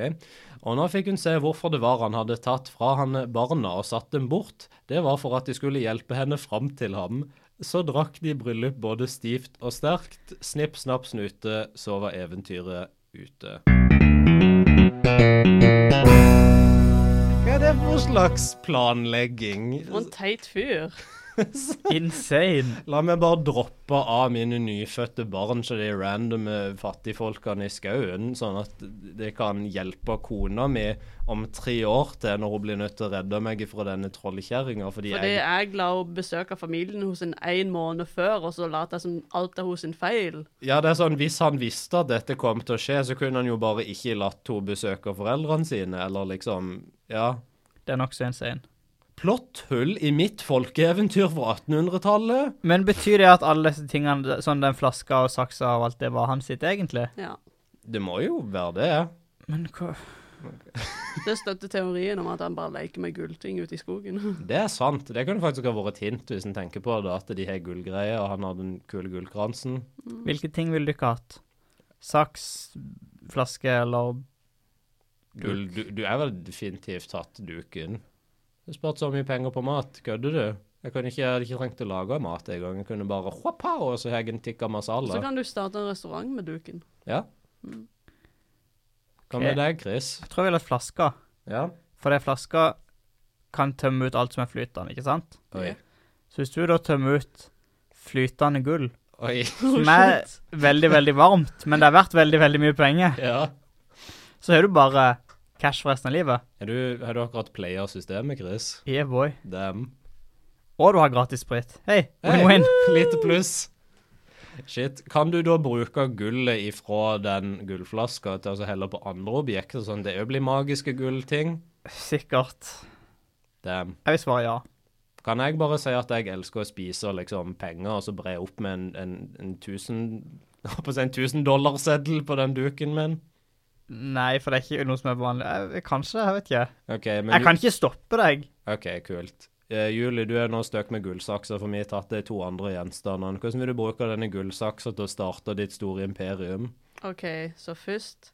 [SPEAKER 1] Og nå fikk hun se hvorfor det var han hadde tatt fra henne barna og satt dem bort. Det var for at de skulle hjelpe henne fram til ham. Så drakk de bryllup både stivt og sterkt. Snipp, snapp, snute, så var eventyret ute. Hva er det for slags planlegging?
[SPEAKER 3] For en teit fyr.
[SPEAKER 2] Insane.
[SPEAKER 1] La meg bare droppe av mine nyfødte barn til de randome fattigfolkene i skauen, sånn at det kan hjelpe kona mi om tre år til når hun blir nødt til å redde meg fra denne trollkjerringa, fordi
[SPEAKER 3] Fordi
[SPEAKER 1] jeg
[SPEAKER 3] jeg la henne besøke familien hos en en måned før, og så lot jeg som alt er hos sin feil.
[SPEAKER 1] Ja, det er sånn, hvis han visste at dette kom til å skje, så kunne han jo bare ikke latt henne besøke foreldrene sine, eller liksom Ja.
[SPEAKER 2] Det er nokså insane.
[SPEAKER 1] Plotthull i mitt folkeeventyr fra 1800-tallet?
[SPEAKER 2] Men betyr det at alle disse tingene, sånn den flaska og saksa og alt det, var hans sitt egentlig?
[SPEAKER 3] Ja.
[SPEAKER 1] Det må jo være det.
[SPEAKER 2] Men hva
[SPEAKER 3] Det støtter teorien om at han bare leker med gullting ute i skogen.
[SPEAKER 1] Det er sant. Det kunne faktisk ha vært et hint, hvis en tenker på det, at de har gullgreier, og han har den kule gullkransen.
[SPEAKER 2] Hvilke ting ville du ikke hatt? Saks, flaske eller
[SPEAKER 1] Gull, du, du er vel definitivt tatt duken. Du spurte så mye penger på mat, kødder du? Jeg, kunne ikke, jeg hadde ikke trengt å lage mat en gang. Jeg kunne bare hoppa, og så har jeg en tikka
[SPEAKER 3] Så
[SPEAKER 1] masala. Kan,
[SPEAKER 3] kan du starte en restaurant med duken.
[SPEAKER 1] med deg, Chris?
[SPEAKER 2] Jeg tror jeg ville hatt flaska.
[SPEAKER 1] Ja?
[SPEAKER 2] For det flaska kan tømme ut alt som er flytende, ikke sant?
[SPEAKER 1] Oi.
[SPEAKER 2] Så hvis du da tømmer ut flytende gull,
[SPEAKER 1] Oi.
[SPEAKER 2] som er veldig, veldig varmt, men det er verdt veldig, veldig mye penger,
[SPEAKER 1] Ja.
[SPEAKER 2] så har du bare cash for resten av livet.
[SPEAKER 1] Er du, har du akkurat playa systemet, Chris?
[SPEAKER 2] Yeah, boy.
[SPEAKER 1] Damn.
[SPEAKER 2] Og du har gratis sprit. Hei,
[SPEAKER 1] Hey,
[SPEAKER 2] win-win.
[SPEAKER 1] Lite pluss. Shit. Kan du da bruke gullet ifra den gullflaska til å så helle på andre objekter? Sånn, det òg blir magiske gullting?
[SPEAKER 2] Sikkert.
[SPEAKER 1] Damn.
[SPEAKER 2] Jeg vil svare ja.
[SPEAKER 1] Kan jeg bare si at jeg elsker å spise liksom, penger og så bre opp med en, en, en tusen jeg holdt på å si en 1000 dollarseddel på den duken min?
[SPEAKER 2] Nei, for det er ikke noe som er vanlig. Jeg, kanskje, jeg vet ikke.
[SPEAKER 1] OK, men
[SPEAKER 2] Jeg kan ikke stoppe deg.
[SPEAKER 1] OK, kult. Eh, Julie, du er nå støkk med gullsakser, for vi har tatt de to andre gjenstandene. Hvordan vil du bruke denne gullsaksa til å starte ditt store imperium?
[SPEAKER 3] OK, så først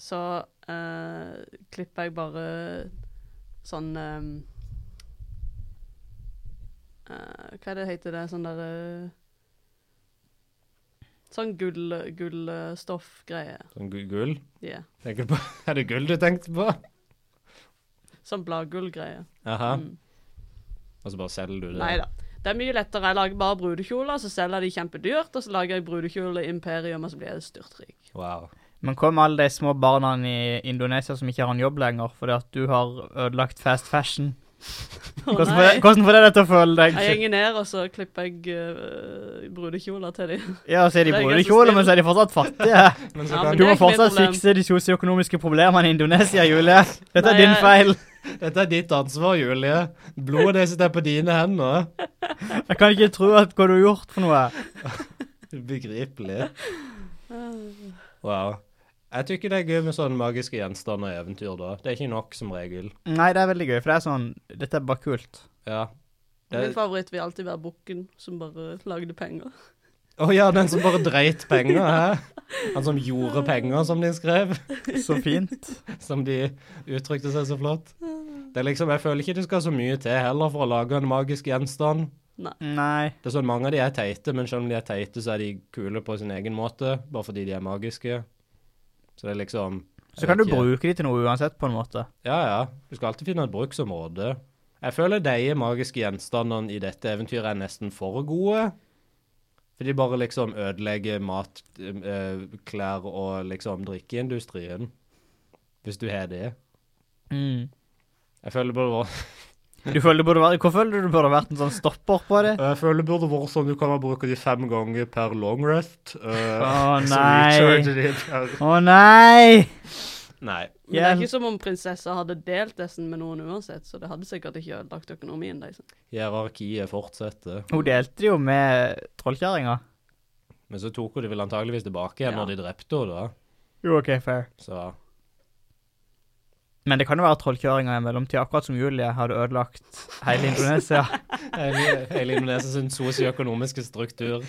[SPEAKER 3] så eh, klipper jeg bare sånn ehm, eh, Hva er det heter det? Sånn derre Sånn gull, gullstoffgreie.
[SPEAKER 1] Sånn gu- gull?
[SPEAKER 3] Yeah.
[SPEAKER 1] Tenker du på Er det gull du tenkte på?
[SPEAKER 3] Sånn bladgullgreie.
[SPEAKER 1] Aha.
[SPEAKER 3] Mm.
[SPEAKER 1] Og så bare selger du det?
[SPEAKER 3] Nei da. Det er mye lettere. Jeg lager bare brudekjoler, så selger jeg de kjempedyrt. Og så lager jeg brudekjole i Imperium, og så blir jeg styrtrik.
[SPEAKER 1] Wow.
[SPEAKER 2] Men hva med alle de små barna i Indonesia som ikke har en jobb lenger, fordi at du har ødelagt fast fashion?
[SPEAKER 3] Å
[SPEAKER 2] Hvordan får,
[SPEAKER 3] nei.
[SPEAKER 2] hvordan får det deg til å føle deg?
[SPEAKER 3] Jeg gjenger ned, og så klipper jeg øh, brudekjoler til dem.
[SPEAKER 2] Ja, så er de
[SPEAKER 3] Det er ganske
[SPEAKER 2] brudekjole, men så er de fortsatt fattige.
[SPEAKER 1] Men
[SPEAKER 3] Ja, men
[SPEAKER 2] Du må
[SPEAKER 3] det er ikke mitt
[SPEAKER 2] fortsatt
[SPEAKER 3] problem.
[SPEAKER 2] fikse de sosioøkonomiske problemene i Indonesia, Julie. Dette
[SPEAKER 3] Nei,
[SPEAKER 2] er din
[SPEAKER 3] jeg-
[SPEAKER 2] feil.
[SPEAKER 1] Dette er ditt ansvar, Julie. Blodet ditt sitter på dine hender.
[SPEAKER 2] Jeg kan ikke tro at hva du har gjort for noe.
[SPEAKER 1] Begripelig. Wow. Jeg tykker det er gøy med sånne magiske gjenstander og eventyr, da. Det er ikke nok, som regel.
[SPEAKER 2] Nei, det er veldig gøy, for det er sånn Dette er bare kult.
[SPEAKER 1] Ja.
[SPEAKER 3] Og Min favoritt vil alltid være bukken som bare lagde penger.
[SPEAKER 1] Å ja, den som bare dreit penger, hæ? Han som gjorde penger, som de skrev.
[SPEAKER 2] Så fint.
[SPEAKER 1] Som de uttrykte seg så flott. Det er liksom, Jeg føler ikke det skal så mye til heller for å lage en magisk gjenstand.
[SPEAKER 2] Nei.
[SPEAKER 1] Det er sånn Mange av de er teite, men selv om de er teite, så er de kule på sin egen måte. Bare fordi de er magiske. Så det er liksom
[SPEAKER 2] Så kan du
[SPEAKER 1] jeg vet ikke.
[SPEAKER 2] bruke de til noe uansett, på en måte.
[SPEAKER 1] Ja, ja. Du skal alltid finne et bruksområde. Jeg føler de magiske gjenstandene i dette eventyret er nesten for gode. For de bare liksom ødelegger mat, eh, klær og liksom drikkeindustrien. Hvis du har det.
[SPEAKER 2] Mm.
[SPEAKER 1] Jeg føler det burde vært,
[SPEAKER 2] Du føler det burde vært, hvor føler du det burde vært en sånn stopper på det?
[SPEAKER 1] jeg føler det burde vært sånn du kan bruke de fem ganger per long rest. eh,
[SPEAKER 2] Å nei. Å nei!
[SPEAKER 1] Nei.
[SPEAKER 3] Men det er
[SPEAKER 2] Hjelp.
[SPEAKER 3] ikke som om prinsessa hadde delt dessen med noen uansett, så det hadde sikkert ikke ødelagt økonomien deres.
[SPEAKER 1] Hierarkiet fortsetter.
[SPEAKER 2] Hun delte jo med trollkjerringa.
[SPEAKER 1] Men så tok hun det vel antageligvis tilbake igjen
[SPEAKER 3] Ja.
[SPEAKER 1] når de drepte henne, da.
[SPEAKER 2] Jo, OK, fair.
[SPEAKER 1] Så
[SPEAKER 2] Men det kan jo være at trollkjerringa i mellomtida, akkurat som Julie, hadde ødelagt hele Indonesia.
[SPEAKER 1] Hele, hele Indonesia sin sosioøkonomiske struktur.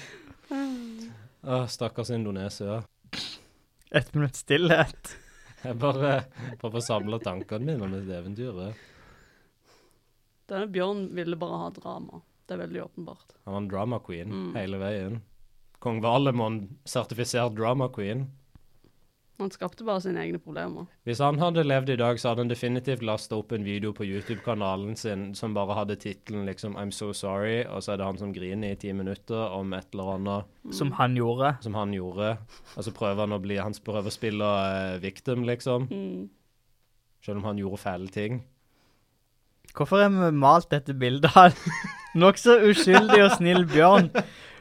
[SPEAKER 1] Åh, stakkars Indonesia.
[SPEAKER 2] Ett minutts stillhet.
[SPEAKER 1] Jeg bare prøver å samle tankene mine om dette eventyret.
[SPEAKER 3] Denne bjørnen ville bare ha drama. Det er veldig åpenbart.
[SPEAKER 1] Han var en drama queen
[SPEAKER 3] Mm.
[SPEAKER 1] hele veien. Kong Valemon, sertifisert drama queen.
[SPEAKER 3] Han skapte bare sine egne problemer.
[SPEAKER 1] Hvis han hadde levd i dag, så hadde han definitivt lasta opp en video på YouTube-kanalen sin som bare hadde tittelen liksom 'I'm so sorry', og så er det han som griner i ti minutter om et eller annet
[SPEAKER 2] Som
[SPEAKER 3] Mm.
[SPEAKER 2] han gjorde.
[SPEAKER 1] som han gjorde, og så prøver han å bli Han prøver å spille eh, victim, liksom.
[SPEAKER 3] Mm.
[SPEAKER 1] Selv om han gjorde fæle ting.
[SPEAKER 2] Hvorfor har vi malt dette bildet av en nokså uskyldig og snill bjørn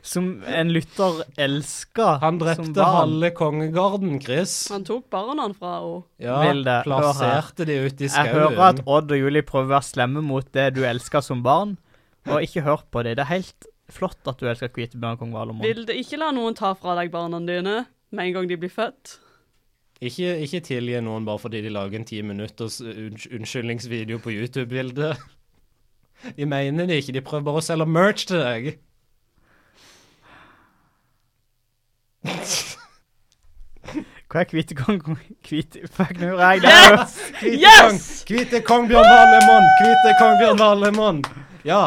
[SPEAKER 2] som en lytter elsker?
[SPEAKER 1] Han
[SPEAKER 2] som
[SPEAKER 1] drepte
[SPEAKER 2] barn?
[SPEAKER 1] halve kongegarden, Chris.
[SPEAKER 3] Han tok barna fra henne.
[SPEAKER 1] Ja,
[SPEAKER 2] Vilde,
[SPEAKER 1] plasserte de ute i
[SPEAKER 2] Jeg hører at
[SPEAKER 1] skauen.
[SPEAKER 2] Odd og Julie prøver å være slemme mot det du elsker som barn, og ikke hør på det. Det er helt flott at du elsker hvite bjørn og kong Valemon.
[SPEAKER 3] Vil det ikke la noen ta fra deg barna dine med en gang de blir født?
[SPEAKER 1] Ikke, ikke tilgi noen bare fordi de lager en ti minutters unns- unnskyldningsvideo på YouTube-bildet. De mener det ikke, de prøver bare å selge merch til deg.
[SPEAKER 2] Hva er hvite kong... Hvite... Fuck, nå gjorde jeg det.
[SPEAKER 1] Hvite
[SPEAKER 3] Yes!
[SPEAKER 1] kong, hvite kong Bjørn Valemon! Hvite kong Bjørn Valemon! Ja.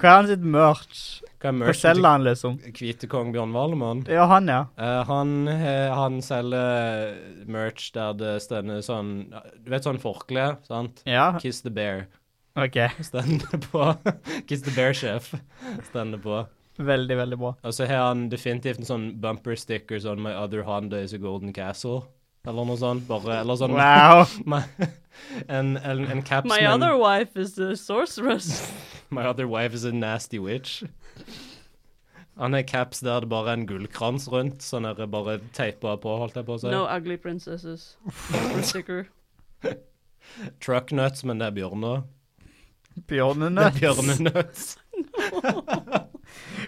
[SPEAKER 2] Hva er han sitt merch?
[SPEAKER 1] Hva er
[SPEAKER 2] Hva
[SPEAKER 1] merchen
[SPEAKER 2] selger han, liksom?
[SPEAKER 1] til hvite kong Bjørn Valemon?
[SPEAKER 2] Ja, han, ja.
[SPEAKER 1] Eh, han, eh, han selger eh, merch der det stender sånn Du vet sånn forkle, sant?
[SPEAKER 2] Ja,
[SPEAKER 1] Kiss the bear.
[SPEAKER 2] OK.
[SPEAKER 1] Stender på. Kiss the bear chef. Stender på.
[SPEAKER 2] Veldig, veldig bra.
[SPEAKER 1] Og så har han definitivt en sånn bumper stickers on my other Honda is a golden castle. Eller noe sånt. Bare, eller sånn
[SPEAKER 2] Wow.
[SPEAKER 1] my, en, en, en caps
[SPEAKER 3] My
[SPEAKER 1] med en-
[SPEAKER 3] other wife is the sorceress.
[SPEAKER 1] my other wife is a nasty witch. Han har caps der det bare er en gullkrans rundt, sånn er det bare teipa på, holdt jeg på å si.
[SPEAKER 3] No ugly princesses. For sticker.
[SPEAKER 1] Trucknuts, men det er bjørner. Det
[SPEAKER 2] Bjørnene.
[SPEAKER 1] er bjørnenuts.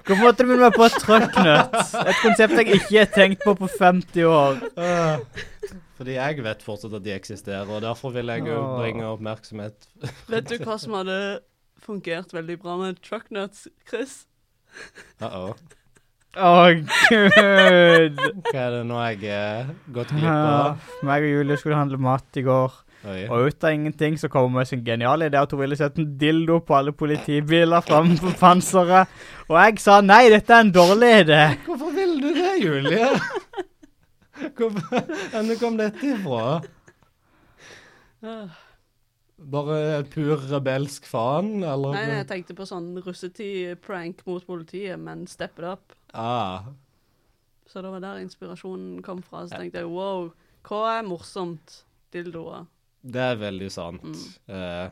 [SPEAKER 2] Hvorfor måtte du minne meg på trucknuts? Et konsept jeg ikke har tenkt på på 50 år.
[SPEAKER 1] Ah. Fordi jeg vet fortsatt at de eksisterer, og derfor vil jeg jo
[SPEAKER 2] Åh.
[SPEAKER 1] bringe oppmerksomhet
[SPEAKER 3] Vet du hva som hadde fungert veldig bra med trucknuts, Chris?
[SPEAKER 1] Uh-oh.
[SPEAKER 2] Å, gud.
[SPEAKER 1] Hva er det nå jeg er gått glipp
[SPEAKER 2] Ja,
[SPEAKER 1] av?
[SPEAKER 2] meg og Julie skulle handle mat i går,
[SPEAKER 1] Oi.
[SPEAKER 2] og ut av ingenting så kom hun med sin geniale idé at hun ville sette en dildo på alle politibiler framme på panseret. Og jeg sa nei, dette er en dårlig idé.
[SPEAKER 1] Hvorfor vil du det, Julie? Hvorfor enn du kom dette ifra?
[SPEAKER 3] Ah.
[SPEAKER 1] Bare pur rebelsk faen, eller?
[SPEAKER 3] Nei, nei, jeg tenkte på sånn russetid-prank mot politiet, men step it up.
[SPEAKER 1] Ah,
[SPEAKER 3] Så det var der inspirasjonen kom fra. Så tenkte jeg wow, hva er morsomt? Dildoer. Mm.
[SPEAKER 1] det er veldig sant. Eh,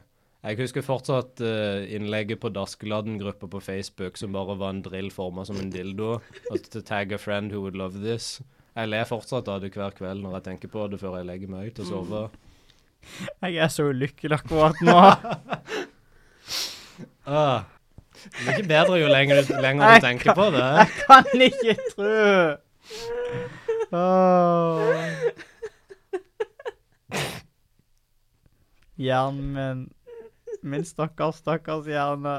[SPEAKER 1] jeg husker fortsatt eh, innlegget på Daskeladden-gruppa på Facebook som bare var en drill forma som en dildo. Og to tag a friend who would love this. Jeg ler fortsatt av det hver kveld når jeg tenker på det før jeg legger meg til å sove.
[SPEAKER 2] Jeg er så ulykkelig akkurat nå.
[SPEAKER 1] Ah. Det er ikke bedre jo lenger du, lenger
[SPEAKER 2] Jeg
[SPEAKER 1] du tenker på det.
[SPEAKER 2] Jeg kan ikke tro. Åh. Hjernen min. Min stakkars, stakkars hjerne.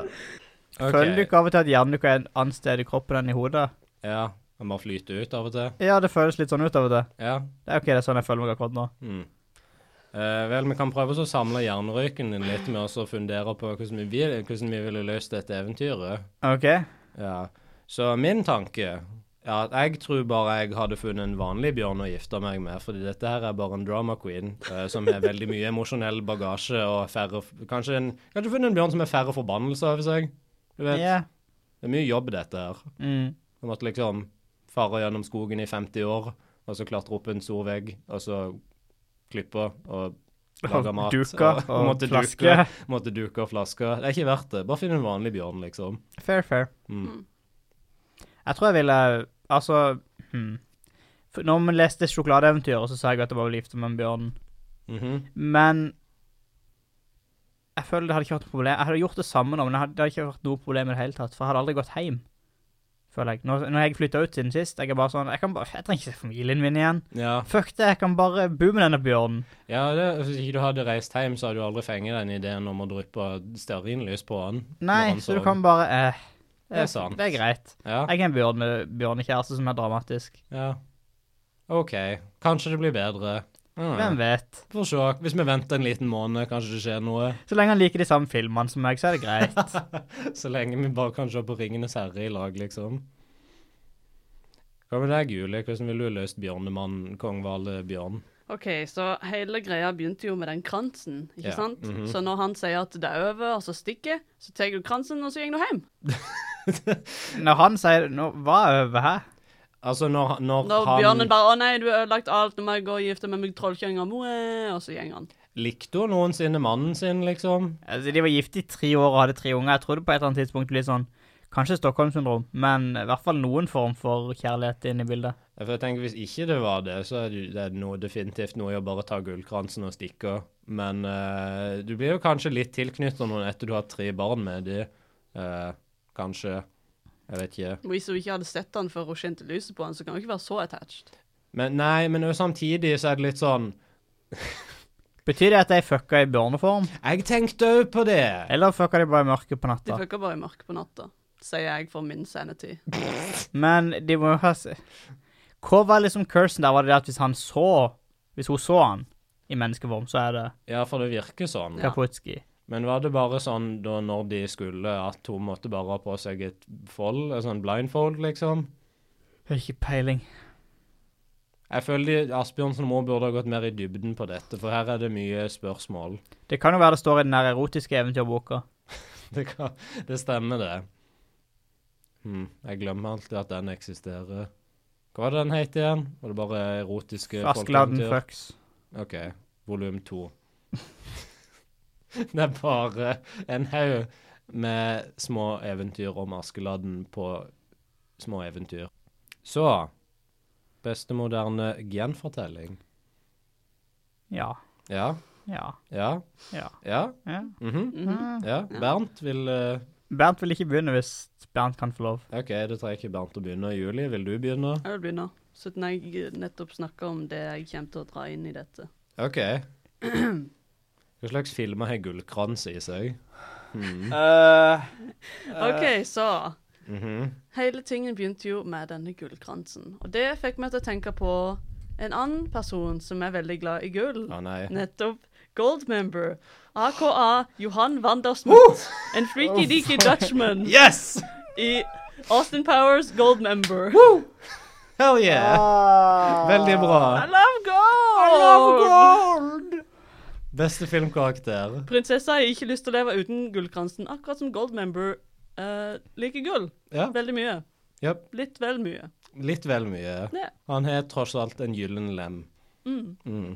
[SPEAKER 1] Ok.
[SPEAKER 2] Føler du ikke av og til at hjernen ikke er en annen sted i kroppen enn i hodet?
[SPEAKER 1] Ja, man må flyte ut av og til.
[SPEAKER 2] Ja, det føles litt sånn ut av og til.
[SPEAKER 1] Ja.
[SPEAKER 2] Det er ok, det er sånn jeg føler meg akkurat nå.
[SPEAKER 1] Mm. Eh, vel, vi kan prøve oss å samle hjernerøyken din litt med oss og fundere på hvordan vi, vil, hvordan vi ville løst dette eventyret.
[SPEAKER 2] Ok?
[SPEAKER 1] Ja. Så min tanke er at jeg tror bare jeg hadde funnet en vanlig bjørn å gifte meg med, fordi dette her er bare en drama queen eh, som har veldig mye emosjonell bagasje og færre Kanskje, en, kanskje funnet en bjørn som har færre forbannelser over seg. Du vet,
[SPEAKER 2] Ja.
[SPEAKER 1] det er mye jobb dette her.
[SPEAKER 2] Mm.
[SPEAKER 1] Jeg måtte liksom fare gjennom skogen i 50 år, og så klatre opp en stor vegg, og så klippe og lage
[SPEAKER 2] Og
[SPEAKER 1] mat.
[SPEAKER 2] duke og
[SPEAKER 1] måtte
[SPEAKER 2] flaske.
[SPEAKER 1] Duke, måtte duke og flaske. Det er ikke verdt det. Bare finn en vanlig bjørn, liksom.
[SPEAKER 2] Fair, fair.
[SPEAKER 1] Mm.
[SPEAKER 2] Jeg tror jeg ville Altså hmm. For Når vi leste sjokoladeeventyret, så sa jeg at det var å gifte meg med bjørnen.
[SPEAKER 1] Mhm.
[SPEAKER 2] Men jeg føler det hadde ikke vært noe problem. Jeg hadde gjort det samme nå, men det hadde, det hadde ikke vært noe problem i det hele tatt. For jeg hadde aldri gått hjem, føler jeg. Når, når jeg flytta ut siden sist, jeg er bare sånn Jeg, kan bare, jeg trenger ikke se familien min igjen.
[SPEAKER 1] Ja.
[SPEAKER 2] Fuck det, jeg kan bare bo med denne bjørnen.
[SPEAKER 1] ja det, hvis ikke du hadde reist hjem, så hadde du aldri fenget den ideen om å dryppe stearinlys på han. når
[SPEAKER 2] Nei,
[SPEAKER 1] han
[SPEAKER 2] så du
[SPEAKER 1] sov.
[SPEAKER 2] kan bare eh,
[SPEAKER 1] Det er sant.
[SPEAKER 2] Det er greit.
[SPEAKER 1] Ja.
[SPEAKER 2] Jeg er en bjørn med bjørnekjæreste som er dramatisk.
[SPEAKER 1] ja. OK. Kanskje det blir bedre. Mm.
[SPEAKER 2] Hvem vet?
[SPEAKER 1] Får se. Hvis vi venter en liten måned, kanskje det skjer noe.
[SPEAKER 2] Så lenge han liker de samme filmene som meg, så er det greit.
[SPEAKER 1] Så lenge vi bare kan se på Ringenes herre i lag, liksom. Hva med deg, Julie? Hvordan ville du løst Bjørnemann, kong Vale Bjørn?
[SPEAKER 3] OK, så hele greia begynte jo med den kransen, ikke
[SPEAKER 1] Ja,
[SPEAKER 3] sant?
[SPEAKER 1] mhm.
[SPEAKER 3] Så når han sier at det er over, og så stikker, så tar du kransen, og så går du hjem.
[SPEAKER 2] Når han sier nå, Hva er over her?
[SPEAKER 1] Altså, når, når,
[SPEAKER 3] Når
[SPEAKER 1] han
[SPEAKER 3] bjørnen bare 'Å nei, du har ødelagt alt, nå må jeg gå og gifte meg med trollkjøringa Moe', og så går han.
[SPEAKER 1] Likte hun noensinne mannen sin, liksom?
[SPEAKER 2] Altså, De var gift i tre år og hadde tre unger. Jeg trodde på et eller annet tidspunkt litt sånn Kanskje Stockholm-syndrom, men i hvert fall noen form for kjærlighet inne i bildet.
[SPEAKER 1] For jeg tenker, Hvis ikke det var det, så er det det er noe, definitivt noe i å bare ta gullkransen og stikke. Men eh, du blir jo kanskje litt tilknyttet noen etter du har tre barn med de. Eh, kanskje. Jeg vet ikke.
[SPEAKER 3] Og Hvis hun ikke hadde sett han før hun skinte lyset på han, så kan hun ikke være så attached.
[SPEAKER 1] Men nei, men jo samtidig så er det litt sånn
[SPEAKER 2] Betyr det at de fucka i bjørneform,
[SPEAKER 1] Jeg tenkte òg på det!
[SPEAKER 2] eller fucka de bare i mørket på
[SPEAKER 3] De
[SPEAKER 2] natta?
[SPEAKER 3] fucker bare i mørket på natta, sier jeg for min sanity.
[SPEAKER 2] Men de må jo ha se- Hva var liksom cursen der? Var det det at hvis han så Hvis hun så han i menneskeform, så er det
[SPEAKER 1] Ja, for det virker sånn.
[SPEAKER 3] Ja.
[SPEAKER 2] Kaputski?
[SPEAKER 1] Men var det bare sånn da når de skulle, at hun måtte bare ha på seg et fold, en sånn blindfold, liksom?
[SPEAKER 2] Har Ikke peiling.
[SPEAKER 1] Jeg føler de- Asbjørnsen og Moe burde ha gått mer i dybden på dette, for her er det mye spørsmål.
[SPEAKER 2] Det kan jo være det står i den der erotiske eventyrboka.
[SPEAKER 1] Det, kan, det stemmer, det. Hm, jeg glemmer alltid at den eksisterer. Hva var det den het igjen? Var det bare erotiske
[SPEAKER 2] Askeladden
[SPEAKER 1] folkeeventyr?
[SPEAKER 2] fucks.
[SPEAKER 1] OK. Volum to. det er bare en haug med små eventyr om Askeladden på små eventyr. Så Beste moderne gjenfortelling.
[SPEAKER 2] Ja.
[SPEAKER 1] Ja,
[SPEAKER 2] Ja.
[SPEAKER 1] ja,
[SPEAKER 2] Ja.
[SPEAKER 1] ja.
[SPEAKER 2] ja.
[SPEAKER 1] mhm,
[SPEAKER 2] Mm.
[SPEAKER 1] ja. Bernt vil eh,
[SPEAKER 2] Bernt vil ikke begynne hvis Bernt kan få lov.
[SPEAKER 1] OK, da trenger ikke Bernt å begynne. Julie, vil du begynne?
[SPEAKER 3] Jeg vil begynne. Siden jeg nettopp snakka om det jeg kommer til å dra inn i dette.
[SPEAKER 1] OK. Hva slags filmer har gullkranse i seg?
[SPEAKER 2] Eh,
[SPEAKER 1] Eh.
[SPEAKER 3] OK, så
[SPEAKER 1] Mhm.
[SPEAKER 3] Hele tingen begynte jo med denne gullkransen. Og det fikk meg til å tenke på en annen person som er veldig glad i gull.
[SPEAKER 1] Å nei.
[SPEAKER 3] Nettopp Goldmember. AKA Johan Wandersmuth. En freaky deaky Dutchman
[SPEAKER 1] Yes!
[SPEAKER 3] i Austin Powers Goldmember.
[SPEAKER 1] Hell yeah! Veldig
[SPEAKER 3] I
[SPEAKER 1] bra.
[SPEAKER 3] love gold!
[SPEAKER 1] Beste filmkarakter.
[SPEAKER 3] Prinsessa har ikke lyst til å leve uten gullkransen, akkurat som Goldmember eh, liker gull.
[SPEAKER 1] Ja.
[SPEAKER 3] Veldig mye.
[SPEAKER 1] Japp.
[SPEAKER 3] Litt vel mye.
[SPEAKER 1] Litt vel mye.
[SPEAKER 3] Ja.
[SPEAKER 1] Han har tross alt en gyllen lem.
[SPEAKER 3] Mm.
[SPEAKER 1] Mm.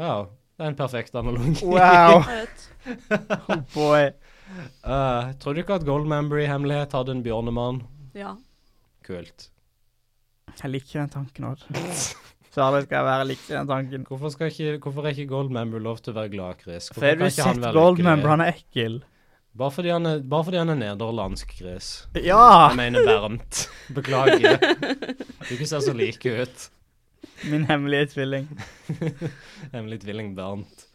[SPEAKER 1] Wow. Det er en perfekt analogi.
[SPEAKER 2] Wow.
[SPEAKER 3] Jeg vet.
[SPEAKER 2] Oh boy.
[SPEAKER 1] Eh, tror du ikke at Goldmember i hemmelighet hadde en bjørnemann?
[SPEAKER 3] Ja.
[SPEAKER 1] Kult.
[SPEAKER 2] Jeg liker den tanken òg. Særlig skal jeg være lik den tanken.
[SPEAKER 1] Hvorfor, skal ikke, hvorfor er ikke Goldmember lov til å være gladkrisk?
[SPEAKER 2] For har du sett Goldmember? Han er ekkel.
[SPEAKER 1] Bare fordi han er, bare fordi han er nederlandsk gris.
[SPEAKER 2] Ja!
[SPEAKER 1] Jeg mener Bernt. Beklager. Du ikke ser så like ut.
[SPEAKER 2] Min hemmelige tvilling.
[SPEAKER 1] Hemmelig tvilling Bernt.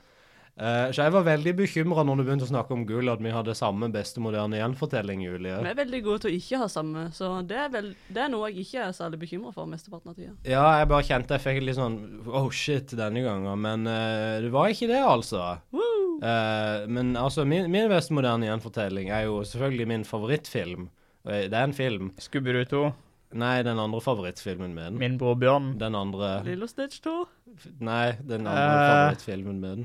[SPEAKER 1] Eh, så jeg var veldig bekymra når du begynte å snakke om gull, at vi hadde samme beste moderne gjenfortelling,
[SPEAKER 3] Vi
[SPEAKER 1] Julie.
[SPEAKER 3] er veldig gode til å ikke ha samme, så det er, vel, det er noe jeg ikke er særlig bekymra for mesteparten av tida.
[SPEAKER 1] Ja, jeg bare kjente jeg fikk litt sånn Oh shit, denne gangen. Men eh, det var ikke det, altså.
[SPEAKER 3] Woo!
[SPEAKER 1] Eh, men altså, min, min beste moderne gjenfortelling er jo selvfølgelig min favorittfilm. Eh, Det er en film.
[SPEAKER 2] Scooby-Doo 2.
[SPEAKER 1] Nei, den andre favorittfilmen min.
[SPEAKER 2] Min bror Bjørn.
[SPEAKER 1] Den andre
[SPEAKER 3] Lilo Stitch 2.
[SPEAKER 1] Nei, den andre
[SPEAKER 2] Eh.
[SPEAKER 1] favorittfilmen min.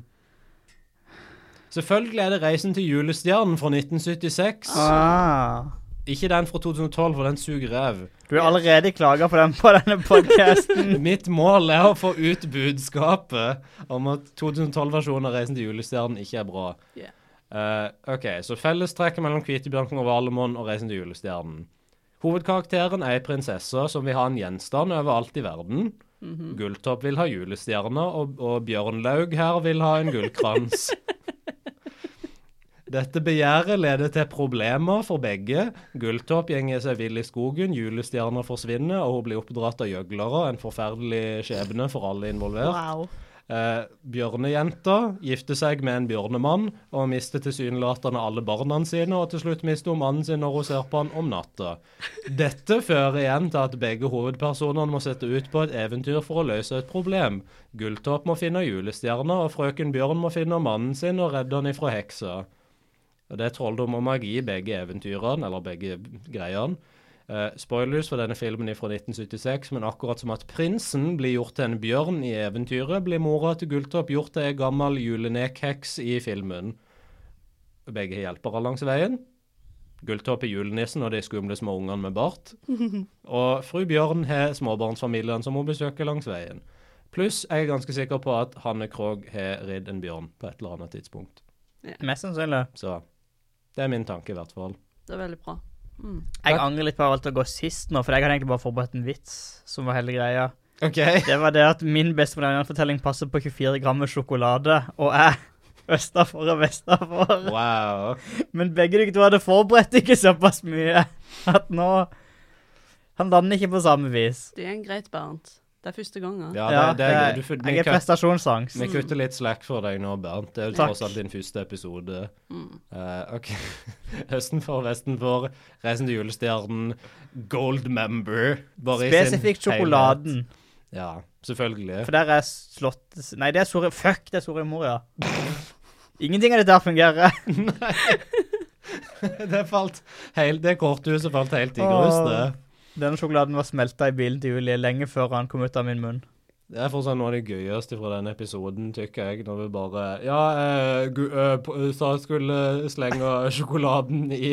[SPEAKER 1] Selvfølgelig er det 'Reisen til julestjernen' fra 1976.
[SPEAKER 2] Ah.
[SPEAKER 1] Ikke den fra 2012, for den suger ræv.
[SPEAKER 2] Du har allerede klaga på den på denne podkasten.
[SPEAKER 1] Mitt mål er å få ut budskapet om at 2012-versjonen av 'Reisen til julestjernen' ikke er bra.
[SPEAKER 3] Ja.
[SPEAKER 1] Eh, OK, så fellestrekket mellom Kvitebjørnken og Valemon og 'Reisen til julestjernen'. Hovedkarakteren er ei prinsesse som vil ha en gjenstand overalt i verden. Gulltopp vil ha julestjerne, og, og Bjørnlaug her vil ha en gullkrans. Dette begjæret leder til problemer for begge. Gulltopp gjenger seg vill i skogen, julestjerner forsvinner, og hun blir oppdratt av gjøglere. En forferdelig skjebne for alle involvert.
[SPEAKER 2] Wow.
[SPEAKER 1] Eh, bjørnejenta gifter seg med en bjørnemann og mister tilsynelatende alle barna sine, og til slutt mister hun mannen sin når hun ser på han om natta. Dette fører igjen til at begge hovedpersonene må sette ut på et eventyr for å løse et problem. Gulltopp må finne julestjerna, og frøken Bjørn må finne mannen sin og redde han ifra heksa. Og Det er trolldom og magi i begge eventyrene, eller begge greiene. Uh, spoilers for denne filmen er fra 1976, men akkurat som at prinsen blir gjort til en bjørn i eventyret, blir mora til Gulltopp gjort til ei gammel julenekheks i filmen. Begge har hjelpere langs veien. Gulltopp er julenissen og de skumle små ungene med bart. Og fru Bjørn har småbarnsfamilien som hun besøker langs veien. Pluss jeg er ganske sikker på at Hanne Krogh har ridd en bjørn på et eller annet tidspunkt.
[SPEAKER 2] Mest sannsynlig.
[SPEAKER 1] Så det er min tanke, i hvert fall.
[SPEAKER 3] Det er veldig bra. Mm.
[SPEAKER 2] Jeg angrer litt på at jeg valgte å gå sist nå, for jeg hadde egentlig bare forberedt en vits. som var hele greia.
[SPEAKER 1] OK.
[SPEAKER 2] Det var det at min bestemodernerfortelling passer på 24 gram med sjokolade, og jeg østafor og vestafor.
[SPEAKER 1] Wow.
[SPEAKER 2] Men begge dere to hadde forberedt ikke såpass mye at nå Han lander ikke på samme vis.
[SPEAKER 3] Det er en greit, Bernt. Det er første gangen.
[SPEAKER 1] Ja,
[SPEAKER 2] Ja,
[SPEAKER 1] det, det er, du, får- vi,
[SPEAKER 2] jeg er
[SPEAKER 1] kutt,
[SPEAKER 2] prestasjonsangst.
[SPEAKER 1] vi kutter litt slack for deg nå, Bernt. Det er jo
[SPEAKER 2] Takk.
[SPEAKER 1] tross alt din første episode.
[SPEAKER 3] Mm.
[SPEAKER 1] Eh, OK. Høsten for, vesten for, Reisen til julestjernen, Gold Member. Bare i sin
[SPEAKER 2] Spesifikt
[SPEAKER 1] helhet.
[SPEAKER 2] sjokoladen.
[SPEAKER 1] Ja, selvfølgelig.
[SPEAKER 2] For der er slått Nei, det er Soria Fuck, det er Soria Moria. Ingenting av dette her fungerer.
[SPEAKER 1] Det falt helt, det korthuset falt helt i grus,
[SPEAKER 2] Åh.
[SPEAKER 1] det.
[SPEAKER 2] Denne sjokoladen var smelta i bilen til Julie lenge før han kom ut av min munn.
[SPEAKER 1] Det er fortsatt noe av det gøyeste fra denne episoden, tykker jeg, når vi bare Ja, eh, gu- eh, p- eh, sa jeg skulle slenge sjokoladen i,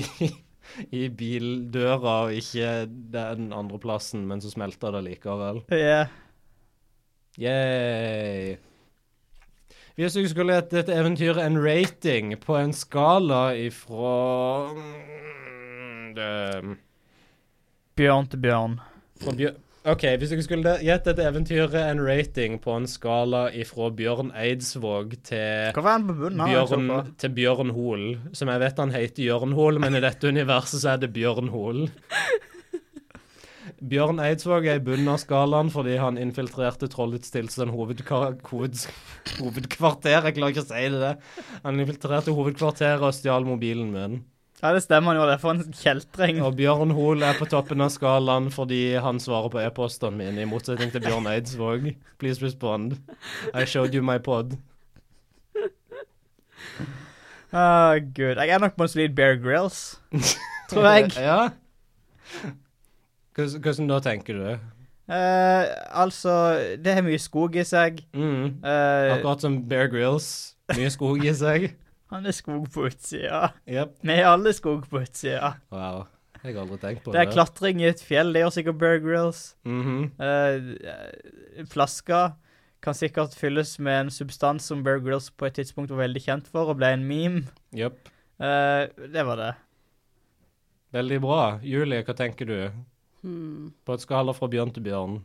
[SPEAKER 1] i bildøra, og ikke den andre plassen, men så smelter det likevel.
[SPEAKER 2] Yeah.
[SPEAKER 1] Yay. Hvis du skulle gitt dette eventyret en rating på en skala ifra mm, det,
[SPEAKER 2] Bjørn til bjørn.
[SPEAKER 1] Fra Bjør- OK, hvis dere skulle gitt dette eventyret en rating på en skala ifra Bjørn Eidsvåg til
[SPEAKER 2] Hva var den på bunnen? her, i så
[SPEAKER 1] Bjørn,
[SPEAKER 2] fall?
[SPEAKER 1] til Bjørn Hol, som jeg vet han heter Jørn Hol, men i dette universet så er det Bjørn Hol. Bjørn Eidsvåg er i bunnen av skalaen fordi han infiltrerte Trollets tilstand hovedka- hoved, hovedkvarter. Jeg klarer ikke å si det. der. Han infiltrerte hovedkvarteret og stjal mobilen min.
[SPEAKER 2] Ja, det stemmer han jo. Det er for en kjeltring.
[SPEAKER 1] Og Bjørn Hoel er på toppen av skalaen fordi han svarer på e-postene mine, i motsetning til Bjørn Eidsvåg. Please respond. I showed you my pod.
[SPEAKER 2] Ah, Gud. Jeg er nok på en solid Bear Grills. Tror jeg.
[SPEAKER 1] Ja. Hvordan hvordan da tenker du?
[SPEAKER 2] Eh, altså, det har mye skog i seg.
[SPEAKER 1] Mm.
[SPEAKER 2] Eh,
[SPEAKER 1] Akkurat som Bear Grills. Mye skog i seg.
[SPEAKER 2] han er skog på utsida.
[SPEAKER 1] Jepp.
[SPEAKER 2] Vi er alle skog på utsida.
[SPEAKER 1] Wow. Jeg har aldri tenkt på
[SPEAKER 2] Det
[SPEAKER 1] det.
[SPEAKER 2] er klatring i et fjell, det gjør sikkert Bear Grills.
[SPEAKER 1] Mhm.
[SPEAKER 2] Eh, flaska kan sikkert fylles med en substans som Bear Grills på et tidspunkt var veldig kjent for, og ble en meme.
[SPEAKER 1] Jepp.
[SPEAKER 2] Eh, det var det.
[SPEAKER 1] Veldig bra. Julie, hva tenker du?
[SPEAKER 3] Hmm.
[SPEAKER 1] På et skala fra bjørn til bjørn.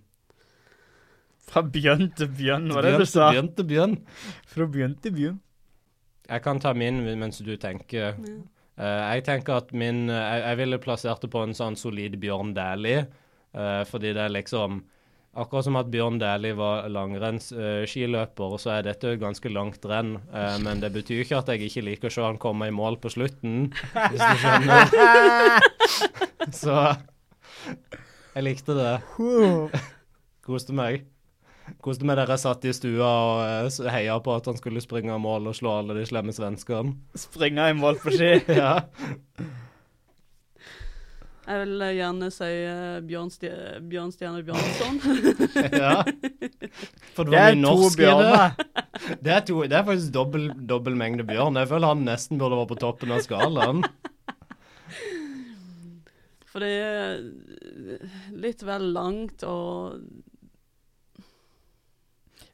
[SPEAKER 2] Fra bjørn til bjørn, var det
[SPEAKER 1] Bjørn
[SPEAKER 2] du
[SPEAKER 1] til
[SPEAKER 2] sa?
[SPEAKER 1] Bjørn til bjørn.
[SPEAKER 2] Fra bjørn til bjørn.
[SPEAKER 1] Jeg kan ta min mens du tenker. Eh, jeg tenker at min eh, jeg, jeg ville plassert det på en sånn solid Bjørn Dæhlie. eh, fordi det er liksom Akkurat som at Bjørn Dæhlie var langrennsskiløper, så er dette et ganske langt renn. eh, men det betyr ikke at jeg ikke liker å se han komme i mål på slutten, hvis du skjønner. så jeg likte det.
[SPEAKER 2] Uh,
[SPEAKER 1] Koste meg. Koste meg der jeg satt i stua og eh, s- heia på at han skulle springe av mål og slå alle de slemme svenskene.
[SPEAKER 2] Springe i mål på ski.
[SPEAKER 1] Ja.
[SPEAKER 3] Jeg vil eh, gjerne si eh, Bjørn Stje- Bjørn Stjerne Bjørnson.
[SPEAKER 1] Ja. For det
[SPEAKER 2] Det
[SPEAKER 1] var
[SPEAKER 2] er
[SPEAKER 1] mye
[SPEAKER 2] to
[SPEAKER 1] norsk i det.
[SPEAKER 2] bjørner.
[SPEAKER 1] Det er, to, det er faktisk dobbel, dobbel mengde bjørn. Jeg føler han nesten burde vært på toppen av skalaen.
[SPEAKER 3] For det er litt vel langt og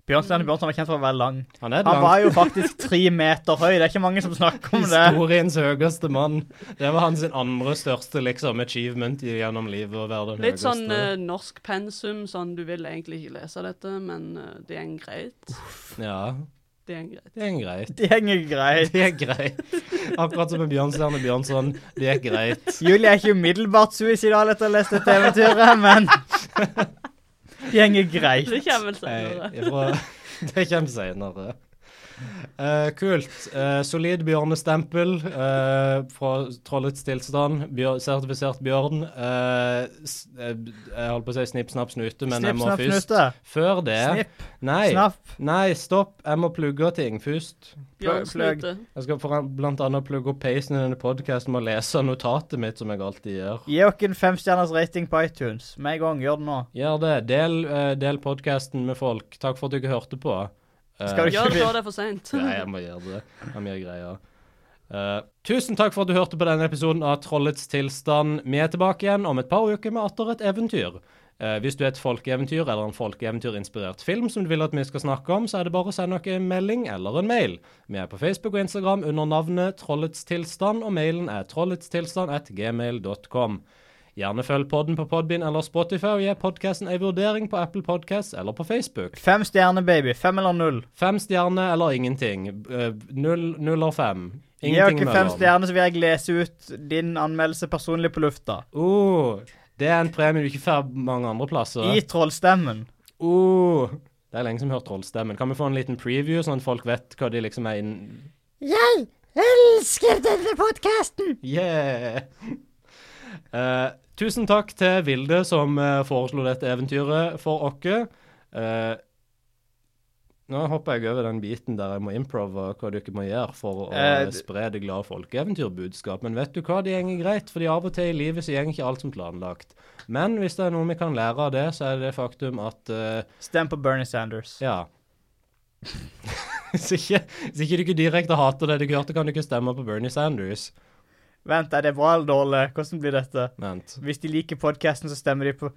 [SPEAKER 2] Bjørn Stjerne Bjørnson var kjent for å være lang.
[SPEAKER 1] Han er
[SPEAKER 2] Han var
[SPEAKER 1] langt.
[SPEAKER 2] jo faktisk tre meter høy. Det er ikke mange som snakker om det.
[SPEAKER 1] Historiens høyeste mann. Det var hans andre største liksom, achievement i- gjennom livet. å være den
[SPEAKER 3] Litt
[SPEAKER 1] høyeste.
[SPEAKER 3] sånn eh, norsk pensum, sånn du vil egentlig ikke lese dette, men eh, det er en greit.
[SPEAKER 1] Ja,
[SPEAKER 3] Det er en greit.
[SPEAKER 1] det er en greit.
[SPEAKER 2] Det henger greit.
[SPEAKER 1] Det er greit. Akkurat som med Bjørnstjerne Bjørnson. Det er greit.
[SPEAKER 2] Julie er ikke umiddelbart suicidal etter å ha lest dette eventyret, men Det henger greit.
[SPEAKER 3] Det kommer vel
[SPEAKER 1] Nei,
[SPEAKER 3] senere.
[SPEAKER 1] ifra, det kommer senere. Eh, kult. Eh, solid bjørnestempel eh, fra Trollets tilstand. Bjør, sertifisert bjørn. Eh, s- eh, jeg holdt på å si snipp, snapp, snute, men jeg
[SPEAKER 2] Snipp,
[SPEAKER 1] må
[SPEAKER 2] snapp,
[SPEAKER 1] først
[SPEAKER 2] snute.
[SPEAKER 1] Før det
[SPEAKER 2] Snipp,
[SPEAKER 1] Nei,
[SPEAKER 2] snapp.
[SPEAKER 1] nei, stopp. Jeg må plugge ting først.
[SPEAKER 2] Pløgg.
[SPEAKER 3] Bjørnsnute.
[SPEAKER 1] Jeg skal foran- blant annet plugge opp peisen i denne podkasten med å lese notatet mitt, som jeg alltid gjør.
[SPEAKER 2] Gi oss en femstjerners rating på iTunes. Med en gang, gjør det nå.
[SPEAKER 1] Gjør det. Del, eh, del podkasten med folk. Takk for at dere hørte på. Eh,
[SPEAKER 2] Skal du
[SPEAKER 3] Gjør det før det er for seint.
[SPEAKER 1] Nei, jeg må gjøre det. Det er mye greier. Eh, tusen takk for at du hørte på denne episoden av Trollets tilstand. Vi er tilbake igjen om et par uker med atter et eventyr. Eh, hvis du er et folkeeventyr eller en folkeeventyrinspirert film som du vil at vi skal snakke om, så er det bare å sende oss en melding eller en mail. Vi er på Facebook og Instagram under navnet Trollets tilstand, og mailen er trolletstilstand.gmail.com. Gjerne følg podden på Podbean eller Spotify, og gi podkasten en vurdering på Apple Podcasts eller på Facebook.
[SPEAKER 2] Fem stjerner, baby. Fem eller null.
[SPEAKER 1] Fem stjerner eller ingenting. Eh, Null, null og fem.
[SPEAKER 2] Gi oss
[SPEAKER 1] Ingenting
[SPEAKER 2] fem
[SPEAKER 1] mellom.
[SPEAKER 2] stjerner, så vil jeg lese ut din anmeldelse personlig på lufta.
[SPEAKER 1] Oh, det er en premie du ikke får mange andre
[SPEAKER 2] I
[SPEAKER 1] plasser.
[SPEAKER 2] trollstemmen.
[SPEAKER 1] Oh, det er lenge som jeg har hørt trollstemmen. Kan vi få en liten preview, sånn at folk vet hva de liksom er innen
[SPEAKER 6] Jeg elsker denne podkasten!
[SPEAKER 1] Yeah! Eh, tusen takk til Vilde som eh, foreslo dette eventyret for oss. Eh, nå hopper jeg over den biten der jeg må improve hva dere må gjøre for å
[SPEAKER 2] Eh, d-
[SPEAKER 1] spre det glade folkeeventyrbudskap. Men vet du hva, det går greit, fordi av og til i livet så går ikke alt som planlagt. Men hvis det er noe vi kan lære av det, så er det faktum at eh,
[SPEAKER 2] Stem på Bernie Sanders.
[SPEAKER 1] Ja. hvis, ikke, hvis ikke dere direkte hater det dere hørte, kan dere stemme på Bernie Sanders.
[SPEAKER 2] Vent, er det bra eller dårlig? Hvordan blir dette?
[SPEAKER 1] Vent.
[SPEAKER 2] Hvis de liker podkasten, så stemmer de på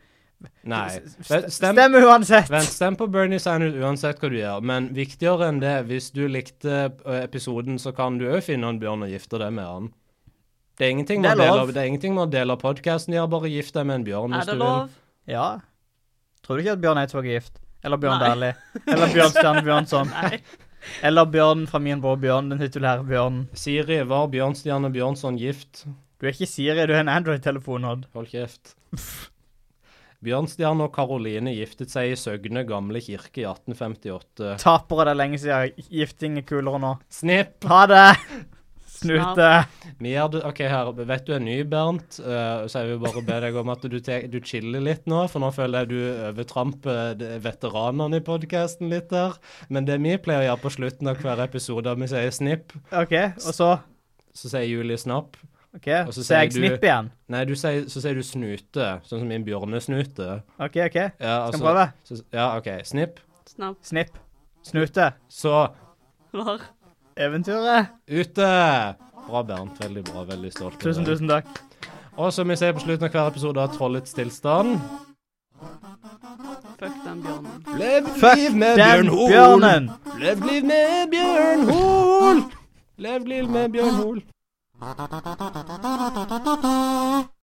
[SPEAKER 1] Nei.
[SPEAKER 2] S-
[SPEAKER 1] Stem,
[SPEAKER 2] st- Stemmer uansett!
[SPEAKER 1] vent, stem på Bernie Sanders uansett hva du gjør, men viktigere eh, enn det, hvis du likte ø, episoden, så kan du òg finne en bjørn og gifte deg med han. Det er ingenting med,
[SPEAKER 2] Det er
[SPEAKER 1] å dele-
[SPEAKER 2] lov.
[SPEAKER 1] det er ingenting med å dele podkasten gjør, bare gift deg med en bjørn
[SPEAKER 3] Er
[SPEAKER 1] hvis du
[SPEAKER 3] det
[SPEAKER 1] vil.
[SPEAKER 3] lov?
[SPEAKER 2] Ja. Tror du ikke at Bjørn Eidsvåg er gift? Eller Bjørn
[SPEAKER 3] Nei.
[SPEAKER 2] Dæhlie? Eller Bjørn Stjerne Bjørnson?
[SPEAKER 3] Nei.
[SPEAKER 2] Eller Bjørn fra min bror Bjørn, den titulære Bjørn.
[SPEAKER 1] Siri var Bjørnstjerne Bjørnson gift.
[SPEAKER 2] Du er ikke Siri, du er en Android-telefon, Odd.
[SPEAKER 1] Hold kjeft. Bjørnstjerne og Karoline giftet seg i Søgne gamle kirke i 1858.
[SPEAKER 2] Tapere det er lenge siden. Gifting er kulere nå.
[SPEAKER 1] Snipp!
[SPEAKER 2] Ha det! Snute.
[SPEAKER 1] Vi er det- OK, her. Vet du er ny, Bernt, eh, så jeg vil bare be deg om at du, te du chiller litt nå, for nå føler jeg du overtramper de- veteranene i podkasten litt der. Men det vi pleier å gjøre på slutten av hver episode, er at vi sier snipp,
[SPEAKER 2] OK, og så
[SPEAKER 1] så sier Julie snapp.
[SPEAKER 2] OK,
[SPEAKER 1] Og så
[SPEAKER 2] så
[SPEAKER 1] sier
[SPEAKER 2] jeg
[SPEAKER 1] du-
[SPEAKER 2] snipp igjen.
[SPEAKER 1] Nei, du sier, så sier du snute, sånn som min bjørnesnute.
[SPEAKER 2] OK, OK.
[SPEAKER 1] Ja,
[SPEAKER 2] Skal vi
[SPEAKER 1] altså,
[SPEAKER 2] prøve?
[SPEAKER 1] så, ja, OK. Snipp.
[SPEAKER 3] Snapp.
[SPEAKER 2] Snipp. Snute.
[SPEAKER 1] Så
[SPEAKER 3] Var.
[SPEAKER 2] Eventyret.
[SPEAKER 1] ute! Bra, Bernt. Veldig bra. Veldig stolt. av
[SPEAKER 2] Tusen,
[SPEAKER 1] deg.
[SPEAKER 2] tusen takk.
[SPEAKER 1] Og som vi sier på slutten av hver episode av Trollets tilstand
[SPEAKER 3] Fuck den bjørnen.
[SPEAKER 1] Lev
[SPEAKER 2] Fuck
[SPEAKER 1] liv med
[SPEAKER 2] Den
[SPEAKER 1] Bjørn Hoel!
[SPEAKER 2] bjørnen.
[SPEAKER 1] Lev liv med Bjørn Hoel! Lev liv med Bjørn Hoel.